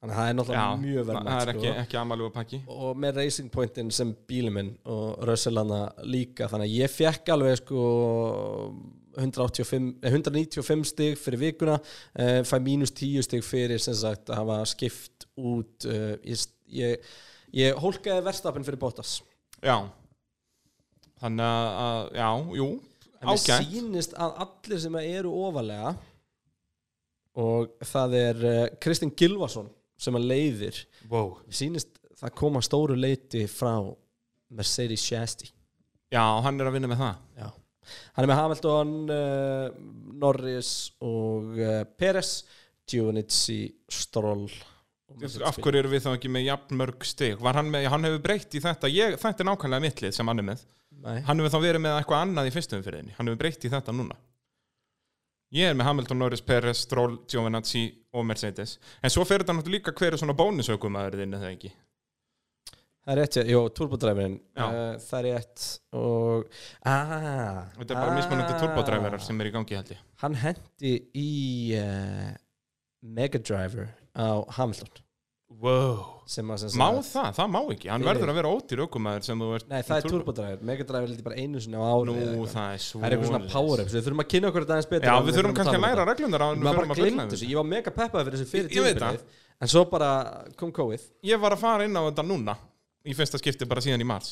þannig að það er náttúrulega mjög verðmætt Það er sko. ekki, ekki amaljúa pakki og með Racing Pointin sem bíli minn og Rösselana líka þannig að ég fekk alveg sko 185, eh, 195 stig fyrir vikuna eh, fæ mínus 10 stig fyrir sem sagt að hafa skipt út eh, ég, ég, ég hólkaði verstapin fyrir Bottas Já Þannig að- að, já, jú en mér Ágætt. sýnist að allir sem eru ofalega og það er eh, Kristinn Gilvason sem að leiðir wow. mér sýnist það koma stóru leiti frá Mercedes Shasti Já, hann er að vinna með það Já. Hann er með Hamilton, uh, Norris og uh, Peres, Giovinazzi, Stroll og Mercedes Af hverju eru við þá ekki með jafnmörg stig? Var hann með, hann hefur breytt í þetta ég, Þetta er nákvæmlega mittlið sem hann er með Nei. Hann hefur þá verið með eitthvað annað í fyrstum fyrir henni Hann hefur breytt í þetta núna Ég er með Hamilton, Norris, Perez, Stroll, Giovinazzi og Mercedes En svo fer þetta náttúrulega líka hver er svona bónusökum að þinn eða ekki Það er rétt, já, jú, turbodræfirinn Já. uh, Það er rétt og ah, Þetta er bara ah, mismunandi turbodræverar sem er í gangi held ég Hann hendi í uh, Megadriver á Hamilton wow. sem að sem Má sagt- það? Það má ekki Hann Fyrir. verður að vera ótir ökumæður sem þú ert Nei, það er turbodræfir, Megadriver lítið bara einu sinni á ári Nú, eða eitthvað. það er svo Það er eitthvað svona power-ups, við þurfum að kynna okkur þetta aðeins betur Já, áður en við þurfum förum kannski að tala um læra þetta. reglundar á maður bara glemt þessu þessu, ég var mega peppaði fyrir þessu fyrir Ég- ég veit tímabilið, en svo bara kom COVID Ég var að fara inn á þetta núna Í fyrsta skipti bara síðan í mars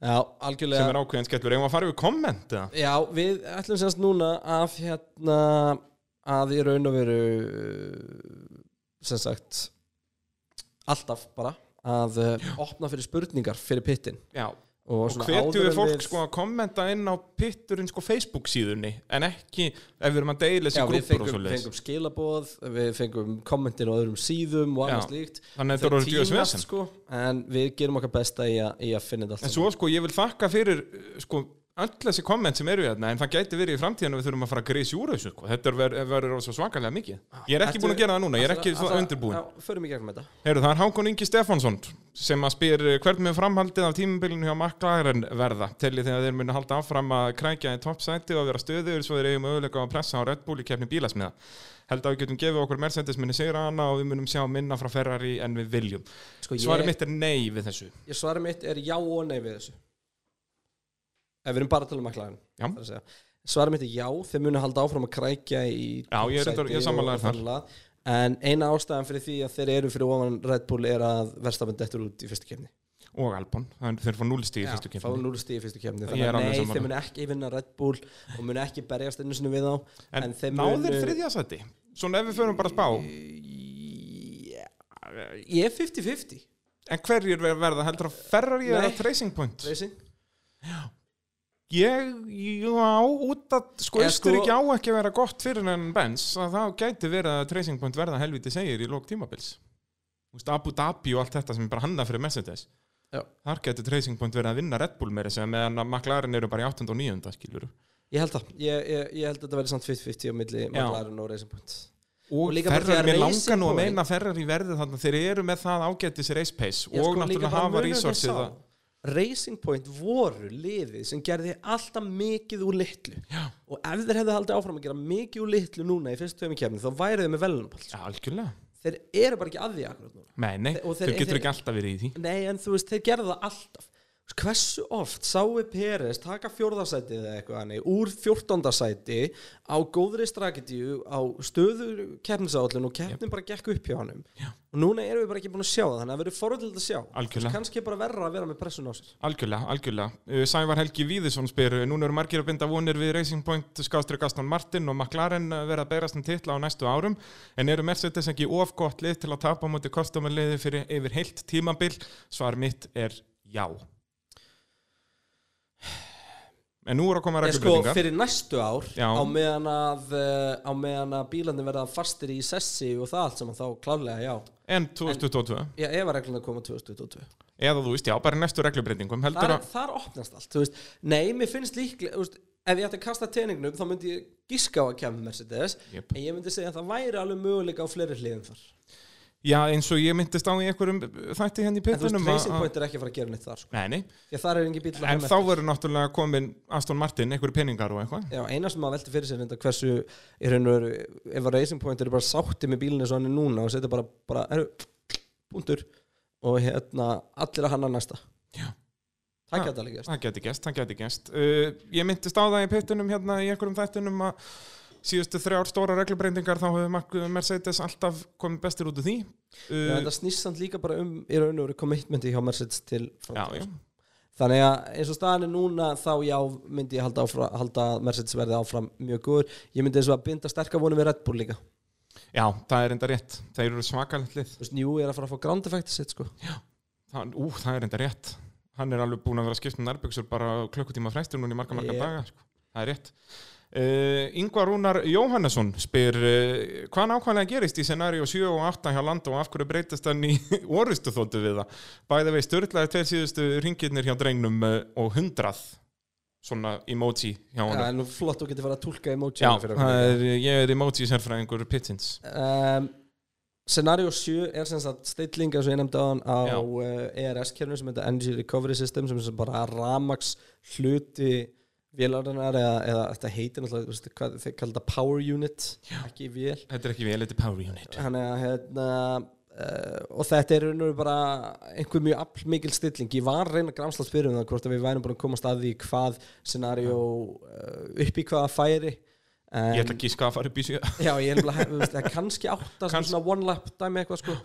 já, Sem er algjörlega, ákveðin skellur Ég var að fara yfir komment eða? já, við ætlum semst núna að hérna að í raun og veru sem sagt alltaf bara að já. opna fyrir spurningar fyrir pittin Já, og, og svona hvetjum áður við en fólk sko að kommenta inn á pitturinn sko Facebook síðunni en ekki ef við erum að deila já, þessi við grúpur og svo fengum, fengum skilaboð við fengum kommentir á öðrum síðum og annars Já. líkt Þannig að þetta er orðið djöfis vesen. sko, en við gerum okkar besta í að, í að finna þetta allt En svo sko ég vil þakka fyrir uh, sko öll þessi komment sem eru hérna en það gæti verið í framtíðan að við þurfum að fara að greiðs úr þessu sko. þetta er ver- verður svo svakalega mikið ég er ekki Ertu- búin að gera það núna, ég er ekki svo Ætla- undirbúin Já, förum í gegnum þetta Heru, það er Hákon Ingi Stefánsson sem að spyr eh, hvernig mun framhaldið af tímabilinu hjá McLaren verða tellið þegar þeir munu halda áfram að krækja í toppsæti og vera stöður svo þeir eigum auðvitað að pressa á Red Bull í kefni bílasmiða held að við getum gefið okkur Mercedes muni sigra hana og við munum sjá minna frá Ferrari en við viljum sko, svarið mitt er nei við þessu ég svarið mitt er já og nei við þessu ef við erum bara að tala um McLaren Já. þar að segja. svarið mitt er já, þeir munu halda áfram að krækja í Já, ég er toppsæti reyndar- ég er og- sammála og þar. framlega. en eina ástæðan fyrir því að þeir eru fyrir ofan Red Bull er að verstafinn dettur út í fyrstu kemni og Albon, þannig þeir fá 0 stíð í fyrstu fá kefni 0 stíð í fyrstu kemni Ég þannig er að alveg nei, sammála. þeir munu ekki vinna Red Bull og munu ekki berjast einu sinni við þá En, en þeir náðir munu- þriðja sæti Svona ef við förum bara að spá ég er 50-50 En hverjir ver- verða heldur að Ferrari Nei. eða Tracing Point Racing Ég, já, út að sko Eða Östur ekki á sko- ekki að vera gott fyrir en Benz að þá gæti verið að Tracing Point verða helviti segir í lók tímabils Úst, Abu Dhabi og allt þetta sem er bara hanna fyrir Mercedes Já. Þar gæti Tracing Point verið að vinna Red Bull meira sem meðan að McLaren eru bara í 8. og 9. skilur Ég held það, ég, ég, ég held að þetta verði samt 50-50 á milli McLaren og Racing Point og, Og líka bara Ferrari, því að mér Racing langar nú að Point- meina að Ferrari verði þarna þeir eru með það ágættis race pace Ég sko, og líka náttúrulega bara hafa munurinn resursið sá að- Racing Point voru liðið sem gerði alltaf mikið úr litlu Já. og ef þeir hefðu haldið áfram að gera mikið úr litlu núna í fyrstu tveimur kemni þá væru þeir með velunapall Já, algjörlega þeir eru bara ekki að því akkurat núna Nei, nei, Þe- og þeir- þeir getur þeir- ekki alltaf verið í því Nei, en þú veist, þeir gerðu það alltaf Þú veist, Hversu oft sáu Peres taka fjórðasætið eða eitthvað hannig úr fjórtóndasæti á góðri strategiu á stöðu keppnisállun og keppnin bara gekk upp hjá hannum Já. og núna erum við bara ekki búin að sjá það þannig að það verður forðilegt að sjá Algjörlega. kannski er bara verra að vera með pressun á sér Algjörlega, algjörlega. Uh, Sævar Helgi Víðisson spyr, uh, núna eru margir að binda vonir við Racing Point, Skástrygg Aston Martin og McLaren að vera að berast um titla á næstu árum, en eru Mercedes ekki of gott lið til að tapa á móti kostumarliði fyrir yfir heilt tímabil? Svar mitt er já. En nú eru að koma Ég sko, reglubreitingar. fyrir næstu ár Já. á meðan að, eh, á meðan að bílarnir verða fastir í sessi og það allt saman þá klálega já En 2022, Já, ef að regluna koma 2022 eða þú veist, já, bara í næstu reglubreitingum, heldur þar, að... þar opnast allt þú veist, Nei, mér finnst líklega þú veist, Ef ég ætti að kasta teiningnum þá myndi ég gíska á að kemur Mercedes Jep. En ég myndi segja að það væri alveg möguleika á fleiri hliðum þar Já, eins og ég myndist á í einhverjum þætti En henni í þú pittunum veist, Racing að... Point er ekki að fara að gera neitt þar sko. Nei, nei, Því að þar er engin bíl að en koma þá eftir. voru náttúrulega komin Aston Martin, einhverju peningar og eitthvað. Já, eina sem maður velti fyrir sér enda hversu er hennu, ef að Racing Point eru bara sátti með bílinu svo hann er núna og setja bara, bara heru, búndur og hérna allir að hanna næsta Já. Það Já. gæti alveg gerst Það geti gæst, það geti gæst. Uh, ég myndist á það í pittunum hérna í einhverjum þættinum að síðustu þrjár stóra reglubreitingar þá hefur Mark- Mercedes alltaf komið bestir út úr því. Já, Uh, Þetta snýst samt líka bara um í raun og veru commitmenti hjá Mercedes til já, framtíðar. já, Þannig að eins og staðan er núna þá já myndi ég halda, áfram, halda að Mercedes verði áfram mjög góður. Ég myndi eins og að binda sterkar vonum við Red Bull líka. já, það er enda rétt. Þeir eru svakalegt lið. Þú veist, Njú er að fara að fá ground effect sitt sko. Það, ú, það er enda rétt. Hann er alveg búin að vera að skipta um nærbyggsur bara á klukkutíma fræstur núna í marga, marga Yep. daga. Sko. Það er rétt. Uh, Ingvar Rúnar Jóhannesson spyr uh, hvað nákvæmlega gerist í scenaríu 7 og 8 hjá landa og af hverju breytast hann í <laughs> orustu þóttu við það bæði vei störlaði tveir síðustu ringirnir hjá drengnum uh, og 100 svona emoji Já, hjá honum en nú flott þú getur fara að tólka emoji Já, fyrir það okkur. er, ég er emoji sérfræðingur Pittins Um, Scenario 7 er sem sagt stilling eins og ég nefndi á hann á Já. uh, ERS-kerfinu sem heitir Energy Recovery System sem er sem bara ramax hluti vélarinnar eða, eða þetta heitir náttúrulega, þú veist, hvað, þeir kalla þetta Power Unit, ekki vél. Þetta er ekki vel, þetta er Power Unit Þannig að hérna Uh, og þetta er raunur bara einhver mjög aflmikil stilling ég var að reyna að gramslast fyrir um það hvort að við værum búin að komast að því hvað scenario uh, upp í hvaða færi en, Ég ætla ekki að fara upp í 7 já, ég er nefnilega- þú veist, það er kannski átta Kanns- Kans... svona one lap dæmi eitthvað sko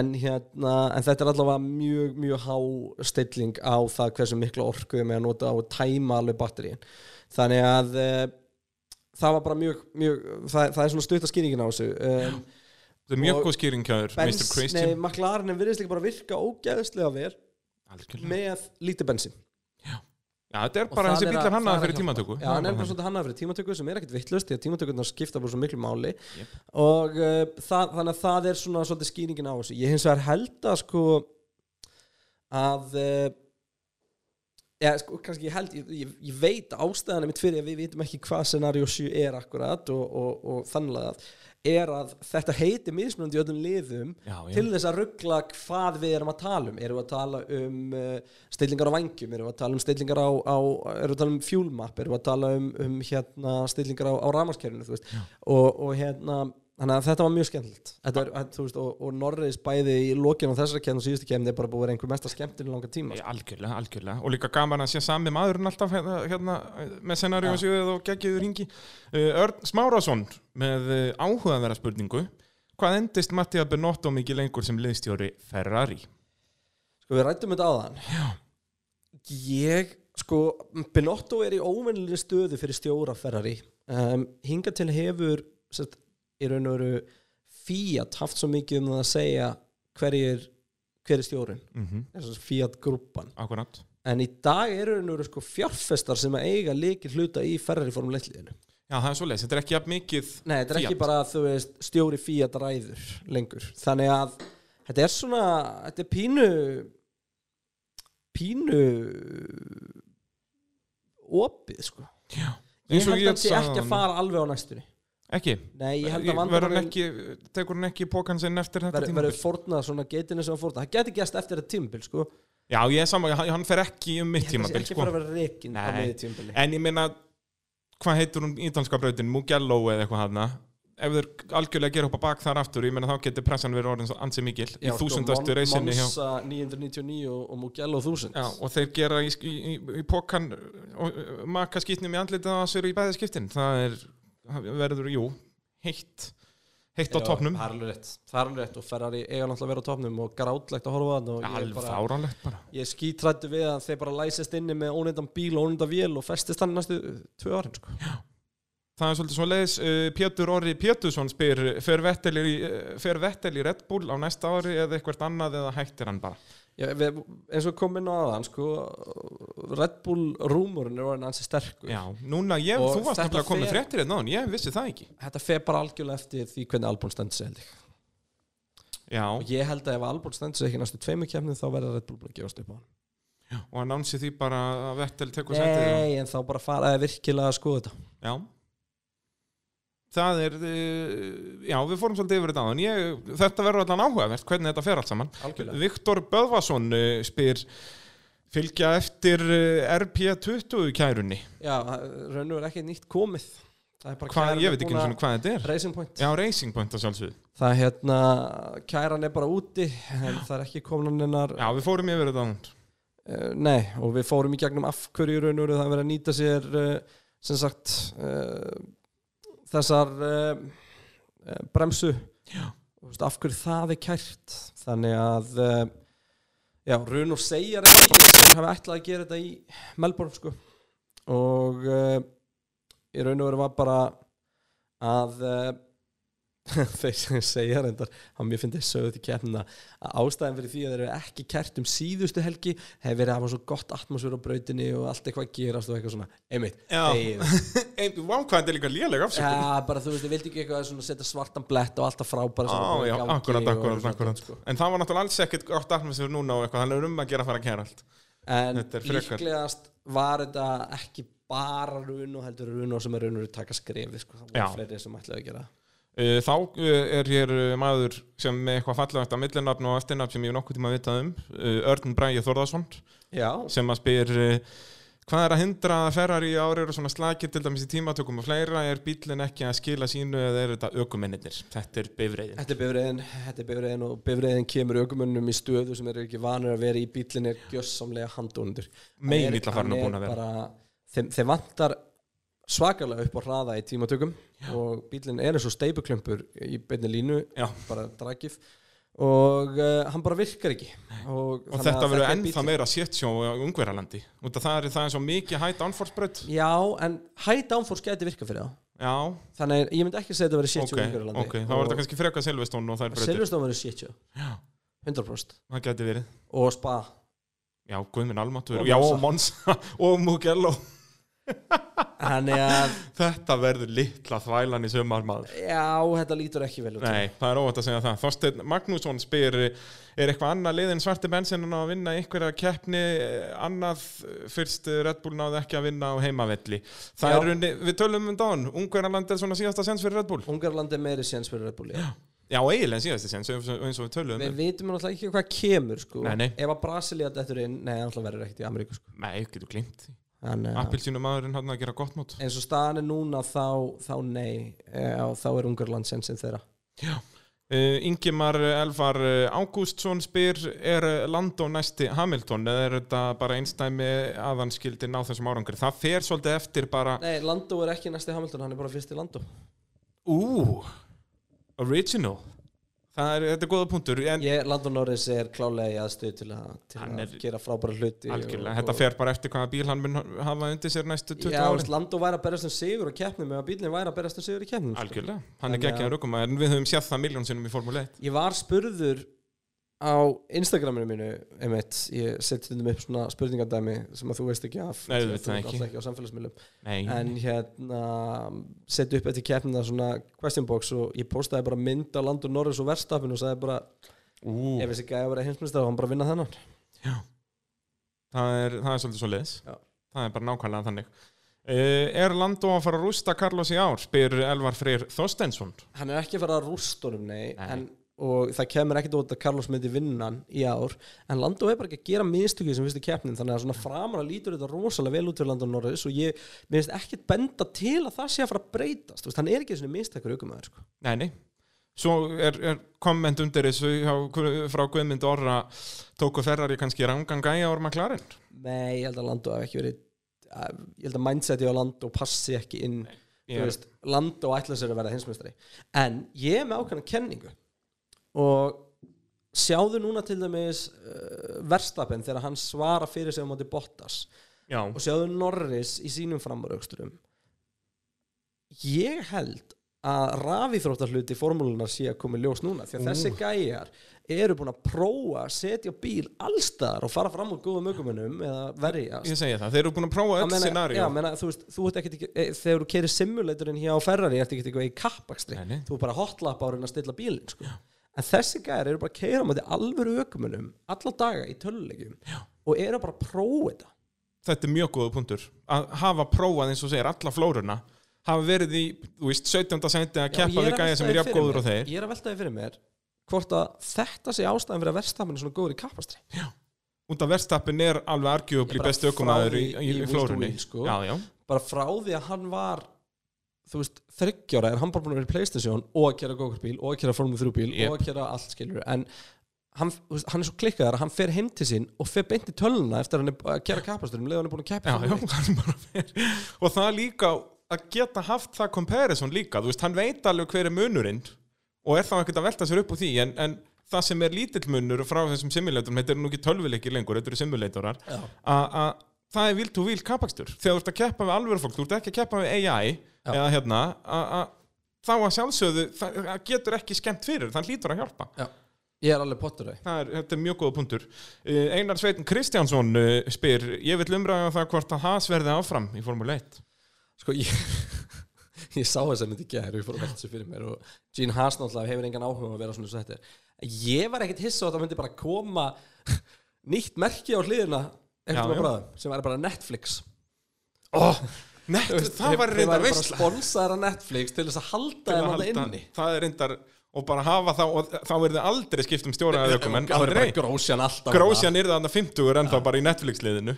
en, hérna, en þetta er allavega mjög, mjög há stilling á það hversu mikla orku við með að nota á að tæma alveg batteríin þannig að uh, það var bara mjög, mjög það, það er svona stuttaskýringin á þessu um, Þetta er mjög Og góð skýringjaður, Mr. Bens- Christian Nei, McLaren virðist líka bara virka ógæðislega vel Algjörlega. með lítið bensin Já, þetta er Og bara það þessi er að- bílar það er hannaða að fyrir hjálpa. tímatöku Já, hann er bara svolítið hannað fyrir tímatöku sem er ekkit vittlust því að tímatökurnar skipta bara svo miklu máli og uh, það, þannig að það er svona svolítið skýringin á þessu. Ég hins vegar held að sko að uh, Já, sko, kannski ég held, ég, ég, ég veit ástæðan mitt fyrir að við vitum ekki hvað scenario 7 er akkurat og, og, og þannig að er að þetta heiti mismunandi í öllum liðum Já, já. til þess að ruggla hvað við erum að tala um erum við að tala um uh, stillingar á vangjum, erum við að tala um stillingar á, á erum við að tala um fjúlmap, erum við að tala um, um hérna, stillingar á, á ramaskerfinu og, og hérna Þannig að þetta var mjög skemmtilegt Þetta er, að, þú veist, og, og Norris bæði í lokinu á þessari kemni og síðustu kemni er bara búið að vera einhver mesta skemmtinn í langa tíma Nei, Algjörlega, algjörlega og líka gaman að sé sami maðurinn alltaf hérna, hérna með scenaríu og sjöðu og geggiður hingi uh, Örn Smárásson með uh, áhugaverða spurningu Hvað endist Mattia Benotto mikið lengur sem liðstjóri Ferrari? Sko við rættum þetta áðan Já Ég, sko, Benotto er í óvennilegri stöðu fyrir stjóra Ferrari um, Hinga til hefur sett, í raun og veru Fiat haft svo mikið um það að segja hverjir, hver er stjórinn Mm -hmm. Fiat grúpan Akkurat En í dag eru nú sko fjárfestar sem að eiga leikir hluta í Ferrari formuleitliðinu Já, það er svoleiðis, þetta er ekki jafn mikið Nei, þetta er ekki Fiat. bara, þú veist, stjóri Fiat ræður lengur. Þannig að þetta er svona, þetta er pínu pínu opið, sko. Já. Ég Eins og held að ég hann sé sagði ekki að hann. fara alveg á næstunni. Ekki, Nei, ég held að verður hann vandamálin ekki tekur hann ekki í pókan sinn eftir þetta verður tímabil verður fórnað svona geitinu sem hann fórnað. Það geti gæst eftir þetta tímabil, sko. Já, ég er saman, hann, hann fer ekki um mitt tímabil ekki sko. fara að vera reikin á Nei. miðju tímabili En ég meina, hvað heitur hún ítalska brautin? Mugello eða eitthvað hana Ef þeir algjörlega gera upp á bak þar aftur Ég meina þá getur pressan verið orðin svo ansi mikil Í Já, sko, þúsundastu Mon- reysinni hjá Monza 999 og og Mugello 1000 Já, og þeir gera í, sk- í, í, í pokan og uh, maka skýtnum í andlitið á sér í bæði skiptin það er, það verður, jú, heitt heitt á Já, topnum Það er alveg rétt, það er alveg rétt og Ferrari eiga náttúrulega að vera á topnum og grátlegt að horfa á hann og ég er alveg bara, fáránlegt bara ég er skítrættu við að þeir bara læsist inni með óneindan bíl og óneindan vél og festist hann næstu uh, tvö árin sko. Það er svolítið svo leiðis, uh, Pétur Orri Pétursson spyr, fer Vettel, í, uh, fer Vettel í Red Bull á næsta ári eða eitthvað annað eða hættir hann bara? Já, við, eins og kom inn á aðan sko, Red Bull rúmurinn er orðin ansi sterkur Já, núna, ég, Og þú varst þetta nefnilega að koma með fer- fréttir eða náðan, ég vissi það ekki. þetta fer bara algjörlega eftir því hvernig Albon stendur sig held ég. Já, og ég held að ef Albon stendur sig ekki næstu tveimur kemni þá verður Red Bull búin að gefast upp á hann og hann ánsi því bara að Vettel tekur sætið. og- Nei, en þá bara faraði virkilega að skoða þetta Já. Það er, uh, já, við fórum svolítið yfir þetta áðan. Ég, þetta verður allan áhugavert, hvernig þetta fer allt saman. Algjörlega. Viktor Böðvason uh, spyr, fylgja eftir uh, RP20 kærunni. Já, raun og er ekki nýtt komið Það er bara Hvað, kæran ég er veit ekki búin að- eins og hvað þetta er. Racing Point Já, Racing Point að sjálfsögðu. Það er hérna, kæran er bara úti en það er ekki komin hennar Já, við fórum yfir þetta <laughs> ánd. uh, Nei, og við fórum í gegnum af hverju í raun og veru það er verið að nýta sér uh, sem sagt uh, þessar uh, uh, bremsu Já. Þú veist, af hverju það er kært þannig að uh, já, raun og segjar ekki að hafa ætlað að gera þetta í Melbourne sko og uh, í raun og veru var bara að uh, <laughs> þeir sem segja reyndar hann mér finnst þess sögðu til kemna að ástæðan fyrir því að þeir eru ekki kært um síðustu helgi hefur verið að hafa svo gott atmosfér á brautinni og allt eitthvað gerast og eitthvað svona einmitt, Já. þegið. Vá, hvað þetta er líka léleg afsökun. Já, bara þú veist, ég vildi ekki eitthvað svona setja svartan blett og alltaf frábæra sem Já, er búin að já, gangi akkurat, og akkurat, svona akkurat. sko. En það var náttúrulega alls ekkert gott atmosfér núna og eitthvað, hann er um að gera að fara að kæra allt. En Þetta er frekar. líklegast var þetta ekki bara runo, heldur runo sem er runo að taka skrefið, sko, það Já. var fleiri sem ætlaði að gera það. Uh, Þá uh, er hér uh, maður sem með eitthvað fallegt að millinafn og eftirnafn sem ég hef nokkuð tíma að vitað um uh, Örn Bræði Þórðarsson Já, sem að spyr uh, hvað er að hindra að Ferrari í ári eru svona slakir til dæmis í tímatökum og fleira er bílinn ekki að skila sínu eða er þetta ökuminnitir þetta er bifreiðin þetta er bifriðin, þetta er bifriðin og bifriðin kemur ökumönnum í stöðu sem eru ekki vanur að vera í bílinn er gjössamlega handónundur. Megin illa farin að búin að vera Bara, þeim, þeim vantar svakalega upp á hraða í tímatökum og bílinn er eins og steipuklumpur í beinni línu Já. bara dragif og uh, hann bara virkar ekki og, og þannig þetta að verður er ennþá bíllinn- meira séttsjó á Ungverjalandi út af það er það er svo mikið hætt ánforsbröð Já, en high downforce gæti virka fyrir þá Já, Þannig að ég myndi ekki segja þetta verið ok, shit show í Ungarlandi ok, þá var þetta kannski freka Silveston og þær bröðir Silveston verið shit show Já. 100% það geti verið Og spa Já, Guðminn Almatur, Og já og Monsa <laughs> og Mugello Þannig að, Þetta verður litla þvælan í sömar maður. já, þetta lítur ekki vel út Nei, það er óvægt að segja það. Þorsteinn Magnússon spyr, er eitthvað annað lið en svarti bensinan að vinna einhverja keppni, eh, annað eh, fyrst eh, Red Bull náði ekki að vinna á heimavelli. Það Já. er runni, við tölum um dán, Ungverjaland er svona síðasta sens fyrir Red Bull. Ungarland er meiri séns fyrir Red Bull já. Já, eiginlega síðasta sens, eins og eins og við tölum Við um. vitum náttúrulega ekki hvað kemur sko. Nei, nei. Ef að Brasilia dettur inn Nei, hann náttúrulega verður ekkert í Ameríku sko. Nei, getur glimt. Þannig að Appilsínu maðurinn hann að gera gott mót. eins og staðan er núna þá, þá nei já, þá er Ungarland sensin þeirra Uh, Ingimar Elfar eh, Ágústsson spyr er eh, Lando næsti Hamilton eða er þetta bara einstæmi að hann skildi ná þessum árangri það fer svolítið eftir bara Nei, Lando er ekki næsti Hamilton, hann er bara fyrst í Lando Ú, original það er, þetta er góða punktur en ég, Landon Norris er klálega í aðstöðu til að, til Hann að er- gera frábæra hluti algjörlega, þetta fer bara eftir hvaða bíl hann mun hafa undir sér næstu 20 Já, veist, árin Landon væri að berast um sigur á keppnum eða bílinn væri að berast um sigur í keppnum sko. algjörlega, hann er Þannig að- geggjaður okkur en við höfum séð það miljón sinnum í Formule 1 Ég var spurður á Instagraminu mínu einmitt, ég seti stundum upp svona spurningardæmi sem að þú veist ekki af Nei, því að þú auðvitað ert ekki. alltaf ekki á samfélagsmiðlum Nei, en hérna seti upp eftir keppnina svona question box og ég postaði bara mynd á Landon Norris og verstafin og sagði bara ú, ef þessi gæði að vera heimsmyndstar og hann bara að vinna þennan það er, það er svolítið svo leiðis Já. það er bara nákvæmlega þannig Uh, er Landó að fara að rústa Carlos í ár? spyr Elvar Freyr Þorstensson hann er ekki að fara að rústunum nei, Nei. en og það kemur ekkert út að Carlos myndi vinnan í ár en Lando er bara ekki að gera mistökið sem fyrstu keppnin þannig að svona framar að lítur þetta rosalega vel út fyrir Lando Norris og ég minnst ekkert benda til að það sé að fara að breytast Þú veist, hann er ekki svona mistakur aukumæður sko. Nei, nei. Svo er, er komment undir þessu hjá, frá Guðmynd Orra tóku Ferrari kannski ranganga í ár McLaren. Nei, ég held að Lando hef ekki verið að- ég held að mindseti á Lando passi ekki inn þú Ég er- veist, Lando ætla sér að verða hinsmestari en ég er með ákveðna kenningu og sjáðu núna til dæmis uh, verstapin þegar hann svara fyrir sig á móti Bottas Já. og sjáðu Norris í sínum framuröxturum ég held að rafíþróttar hluti formúlunar sé að koma í ljós núna því að þessi gæjar eru búin að prófa að setja bíl allstaðar og fara fram úr góðum aukumunum eða verjast Ég segi það. Þeir eru búin að prófa Ég öll meina- scenario. já, meina, þú veist, þú ert ekkit ekki, e, þegar þú keirir simulatorinn hér á Ferrari ertu ekkit eitthvað í kappakstri Nei, nei. þú er bara hotlap á að reyna að stilla bílinn sko. en þessi gæðar eru bara að keira með alvöru ökumunum alla daga í tölulegjum og eru bara að prófa þetta Þetta er mjög góða punktur. Að hafa prófað eins og segir alla flóruna. Hafa verið í, þú veist, 17. senti að Já, keppa ég er að við gæja velta sem því er jafn fyrir góður mér- og þeir. ég er að velta því fyrir mér hvort að þetta sé ástæðan fyrir að verðstafan er svona góður í kappakstri Út af verðstappin er alveg argjöfli Ég bara bestu ökumæður í, frá því í, í í wheel to flórunni. wheel, sko. Já, já. bara frá því að hann var þú veist, þryggjóra er hann bara búin að vera í Playstation og að gera gókarbíl og að gera Formule 3 bíl og að gera allt skilur en hann, þú veist, hann er svo klikkaðar að hann fer heim til sín og fer beint í töluna eftir að hann er bú- að gera kappasturum leður hann er búin að keppa Já, í já, <laughs> Formúlu 1. hann bara verið. Og það líka, að geta haft það comparison líka, þú veist, hann veit alveg hver er munurinn og er þá ekkert að velta sér upp úr því, en, en það sem er lítill munur frá þessum simulatorum, þetta eru nú ekki tölvileikir lengur, þetta eru simulatorar, Já. að að það er vilt og vilt kapakstur. Þegar þú ert að keppa við alvöru fólk, þú ert ekki að keppa við AI eða hérna, að að þá að sjálfsögðu, það það getur ekki skemmt fyrir, þann lítur að hjálpa. Já. ég er alveg pottur þau Það er, þetta er mjög góða punktur. Eh, Einar Sveitin Kristjánsson eh, spyr, ég vil umræða um það hvort að Haas verði áfram í Formule 1. sko ég ég <laughs> sá þess að myndi gera og ég fór að velta þessu fyrir mér og Gene Haas náttúrulega hefur engan áhuga á að vera svona eins og þetta er ég var ekkit hissa á að það myndi bara koma <laughs> nýtt merki á hliðina Já, einhvern já. veginn bráðum sem er bara Netflix <laughs> oh, nett, það var Þeir- þeir reyndar væru bara veistla sponsaðar af Netflix til þess að halda þeim alltaf inni það er reyndar og bara hafa þá og þá verði aldrei skipt um stjóra eða ökum en það er bara aldrei grósjan alltaf grósjan er það 50 en það bara í Netflix liðinu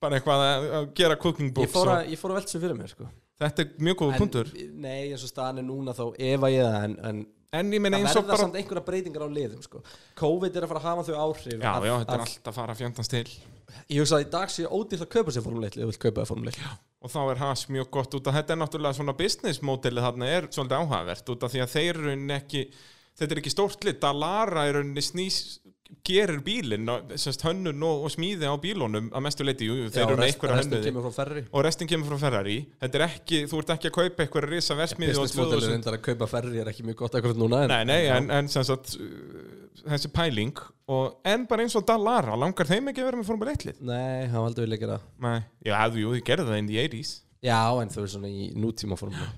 bara eitthvað að að gera cooking ég books fór, og, að, ég fór að velta þessu fyrir mér sko. þetta er mjög góða punktur nei eins og staðan er núna þá efa ég það en, en en ég meina það eins verða og bara samt einhverja breytingar á liðum sko. COVID er að fara að hafa þau áhrif já, að- já, þetta að- er allt að fara fjöndans til ég hugsa að í dag sé ódýrt að kaupa sér formuleitli eða vilt kaupa það formuleitli og þá er Haas mjög gott út að þetta er náttúrulega svona business modelið þarna er svolítið áhugavert út af því að þeir eru ekki þetta er ekki stórt lit, Dalara er rauninni snýs gerir bílinn og- semst hönnun og, og smíði á bílunum að mestu leiti, jú, jú, þeir eru með einhverja hönnuði kemur frá ferri og restin kemur frá Ferrari þetta er ekki, þú ert ekki að kaupa einhverja risa versmiði og business model 2000 reyndar að kaupa ferri er ekki mjög gott akkurat núna en, Nei, nei, en, en sem sagt uh, þessi pæling og, en bara eins og Dalara, langar þeim ekki að vera með Formule 1 lið? nei, hann valdi vilja gera það. Nei, já, jú, þið gerðu það inn í 80s já, en þau eru svona í nútíma formule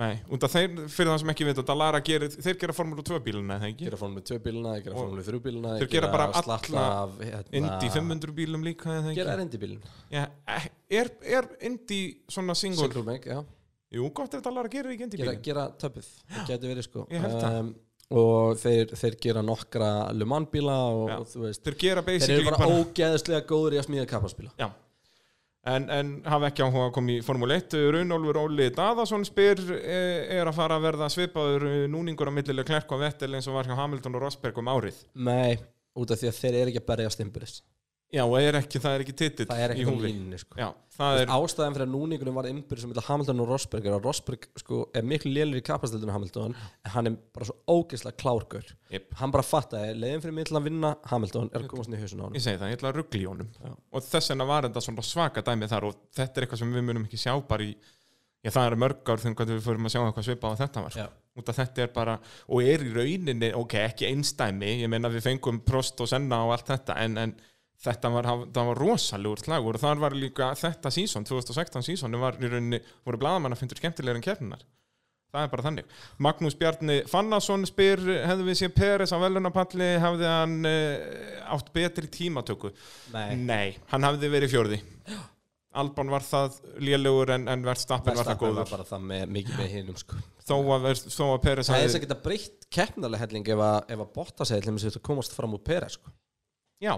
Nei, út af þeir, fyrir það sem ekki veit að Dalara gerir, þeir gera Formule 2 bíluna þeir gera, gera formule 2 bíluna, þeir gera formule 3 bíluna Þeir gera bara alla slatta af, hérna, Indy 500 bílum líka eða gera ekki? er indi bílun Já, eh, er, er Indy svona single? single meg, já Jú, gott ef Dalara gerir ekki Indy gera, bílum gera töpið, það getur verið sko Ég held það. og þeir, þeir gera nokkra Le Mans bíla og, Já. og þú veist Þeir gera þeir basically eru bara ógeðslega góður í að smíða kappaspíla Já En, en hafa ekki áhuga að koma í Formule 1 Runolfur Óli Daðason spyr eh, er að fara að verða svipaður eh, núningur á millileg klerk og vettel eins og var hjá Hamilton og Rosberg um árið nei, út af því að þeir eru ekki að berja stimburis Já, og er ekki, það er ekki titill það er í ekki á húfi línunni sko Já, það er, ástæðan fyrir að núningunum var ymbir sem Hamilton og Rosberg er að Rosberg sko, er miklu lélir í kappastildinu Hamilton en hann er bara svo ógeðslega klárgur Jep. hann bara fattaði, leiðin fyrir mig til að vinna Hamilton er að komast niður í hausun á hann ég segi það, ég ætla að ruggla í honum og þess vegna var þetta svona svaka dæmi þar og þetta er eitthvað sem við munum ekki sjá bara í Já, það er mörg ár þegar hvernig við fórum að sjá eitthvað svipað á þetta var sko. Já. út af þetta er bara, og er í rauninni ok, ekki einstæmi, ég meina við fengum prost og senna og allt þetta en, en þetta var, það var rosalegur slagur og þar var líka þetta sísón 2016 sísónu var í rauninni voru bladamann að fyndur skemmtilegur en kefninar það er bara þannig. Magnús Bjarni Fannason spyr, hefðu við séð Peres á velunapalli, hefði hann uh, átt betri tímatöku? Nei. hann hafði verið fjórði Albon var það lélugur en, en Verstappen var það Verstappen góður var bara það með, mikið með hinum sko. þó að, Vers- þó að Peres Það er hafði- þess að geta breytt keppnilega helling ef að, ef að botta segja til þess að komast fram úr Peres sko. Já,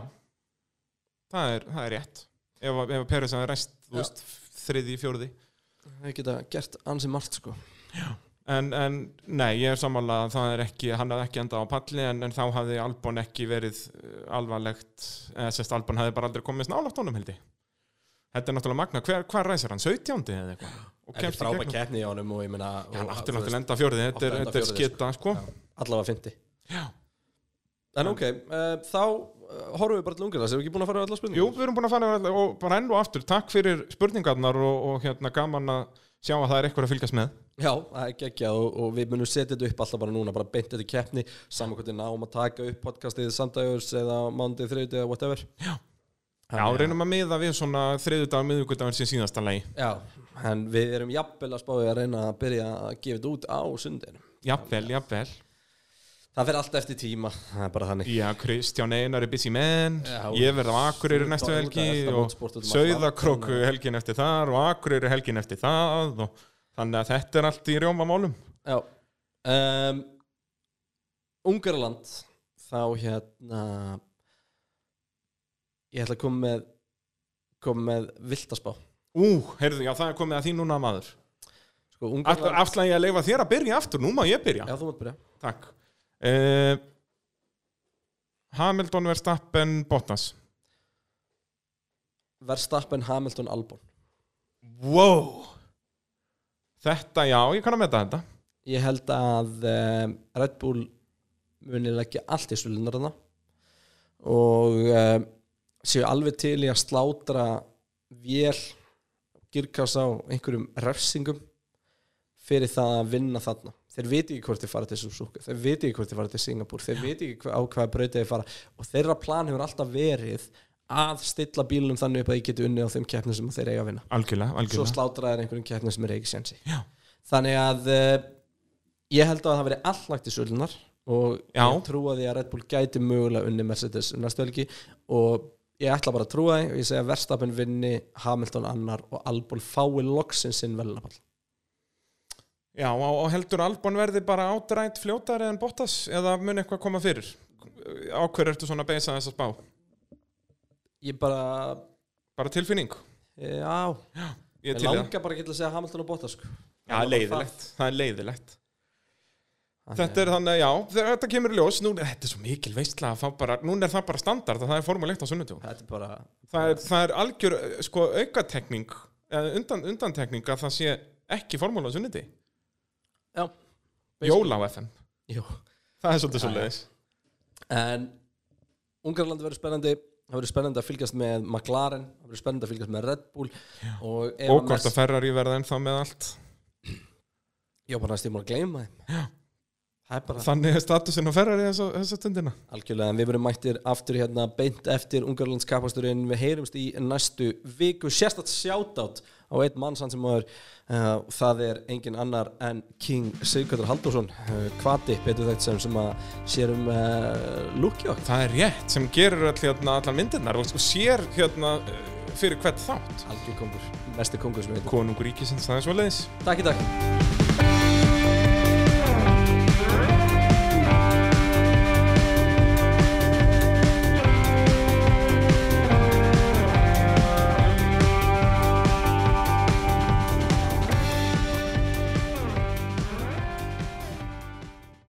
það er, það er rétt Ef, að- ef Peres hafði rest þú Já. veist, þriði, fjórði Það geta gert ansi margt sko. en, en nei, ég er sammála að það er ekki, hann hafði ekki endað á palli en, en þá hafði Albon ekki verið eh, alvarlegt, eða sérst Albon hafði bara aldrei komist nálátt honum heldig Þetta er náttúrulega magna, hver, hver ræsir hann? 17. eða eitthvað? Og Ekki kemst í frábæk gegnum keppni í honum og ég meina og- Hann þú átti veist, náttúrulega enda fjórði, þetta er, átti að enda þetta er fjórði, skita sko. Allavega fyndi Já. En ok, uh, þá uh, horfum við bara til ungarlega, erum við ekki búin að fara á alla spurningar? Jú, við erum búin að fara yfir þetta og bara enn og aftur, takk fyrir spurningarnar og, og hérna gaman að sjá að það er eitthvað að fylgjast með Já, það er geggjað og, og við munum setja þetta upp alltaf bara núna, bara beint þetta í keppni saman hvernig náum að taka upp podcastið samdægurs eða mándið, þriðið eða whatever Já, reynum að miða við svona þriðudagur, miðugudagur sem síðasta lagi Já, en við erum jafnvel að spáði að reyna að byrja að gefa þetta út á sundinu Jafnvel, jafnvel Það fer alltaf eftir tíma, það er bara þannig Já, Kristján Einar er busy man Já. Ég verð á Akureyri Þú næstu ert að- helgi ert að og mótsport út um allt land, Sauðakróku helgin eftir þar og Akureyri helgin eftir það og þannig að þetta er allt í rjómamálum Já um, Ungarland þá hérna ég ætla að koma með koma með viltaspá Ú, heyrðu, já, það er komið að því núna maður sko, Alltaf Ungarland, afslæði ég að leifa þér að byrja aftur, nú má ég byrja já þú mátt byrja Takk uh, Hamilton Verstappen Bottas Verstappen, Hamilton, Albon Wow Þetta, já, ég kann að meta þetta ég held að um, Red Bull muni leggja allt í svolindar þarna og um, séu alveg til í að slátra vél girkassa á einhverjum refsingum fyrir það að vinna þarna þeir viti ekki hvort þeir fara til Suzuka þeir viti ekki hvort þeir fara til Singapur þeir viti ekki hva- á hvaða brauti þeir fara og þeirra plan hefur alltaf verið að stilla bílunum þannig upp að þeir geti unnið á þeim keppnum sem þeir eiga að vinna Algjörlega, svo algjörlega slátraðir einhverjum keppnum sem er ekki sensi Já. þannig að uh, ég held að það veri allt lagt í sölunar og Já. ég trúa því að Red Bull gæti mögulega unni Mercedes næstu helgi og ég ætla bara að trúa því og ég segja að Verstappen vinni Hamilton annar og Albon fái loksin sinn velnapall Já, og, og heldur Albon verði bara átrænt fljótari en Bottas eða mun eitthvað koma fyrir á hverju ertu svona að beisa þess að spá ég bara, eh, bara tilfinning, já ég ég til í það langa bara að geta að segja Hamilton og Bottas sko. Já, Það er bara leiðilegt, það er leiðilegt það. Þetta er þannig, já, þegar þetta kemur í ljós nú, þetta er svo mikil veistla að fá bara núna er það bara standard að það er formulegt á sunnudjó þetta er bara það, er- það er algjör, eh, sko, aukatekning eða undan, undantekning að það sé ekki formúla á sunnundi já, Jóla á FM, jú það er Já, já. svolítið svolítið En Ungarland verður spennandi Það verður spennandi að fylgjast með McLaren Það verður spennandi að fylgjast með Red Bull Og, ef og að hvort Merce- að Ferrari verða ennþá með allt Já, bara næst ég múin að gleyma þeim Já Það er bara þannig er statusin á Ferrari þessa, þessa stundina algjörlega En við verðum mættir aftur hérna Beint eftir Ungarlands kapasturinn Við heyrumst í næstu viku Sérstætt sjátátt á einn mann sann sem maður uh, Það er engin annar en King Sigurður Halldórsson uh, Kvati, betur þetta sem, sem að sérum uh, lúkja það er rétt sem gerir all, hérna, allar myndirnar og sko sér hérna eh, fyrir hvert þátt Algjör kongur, mesti kongur sem við heitum konungur ríkisins, það er svolítið Takk í dag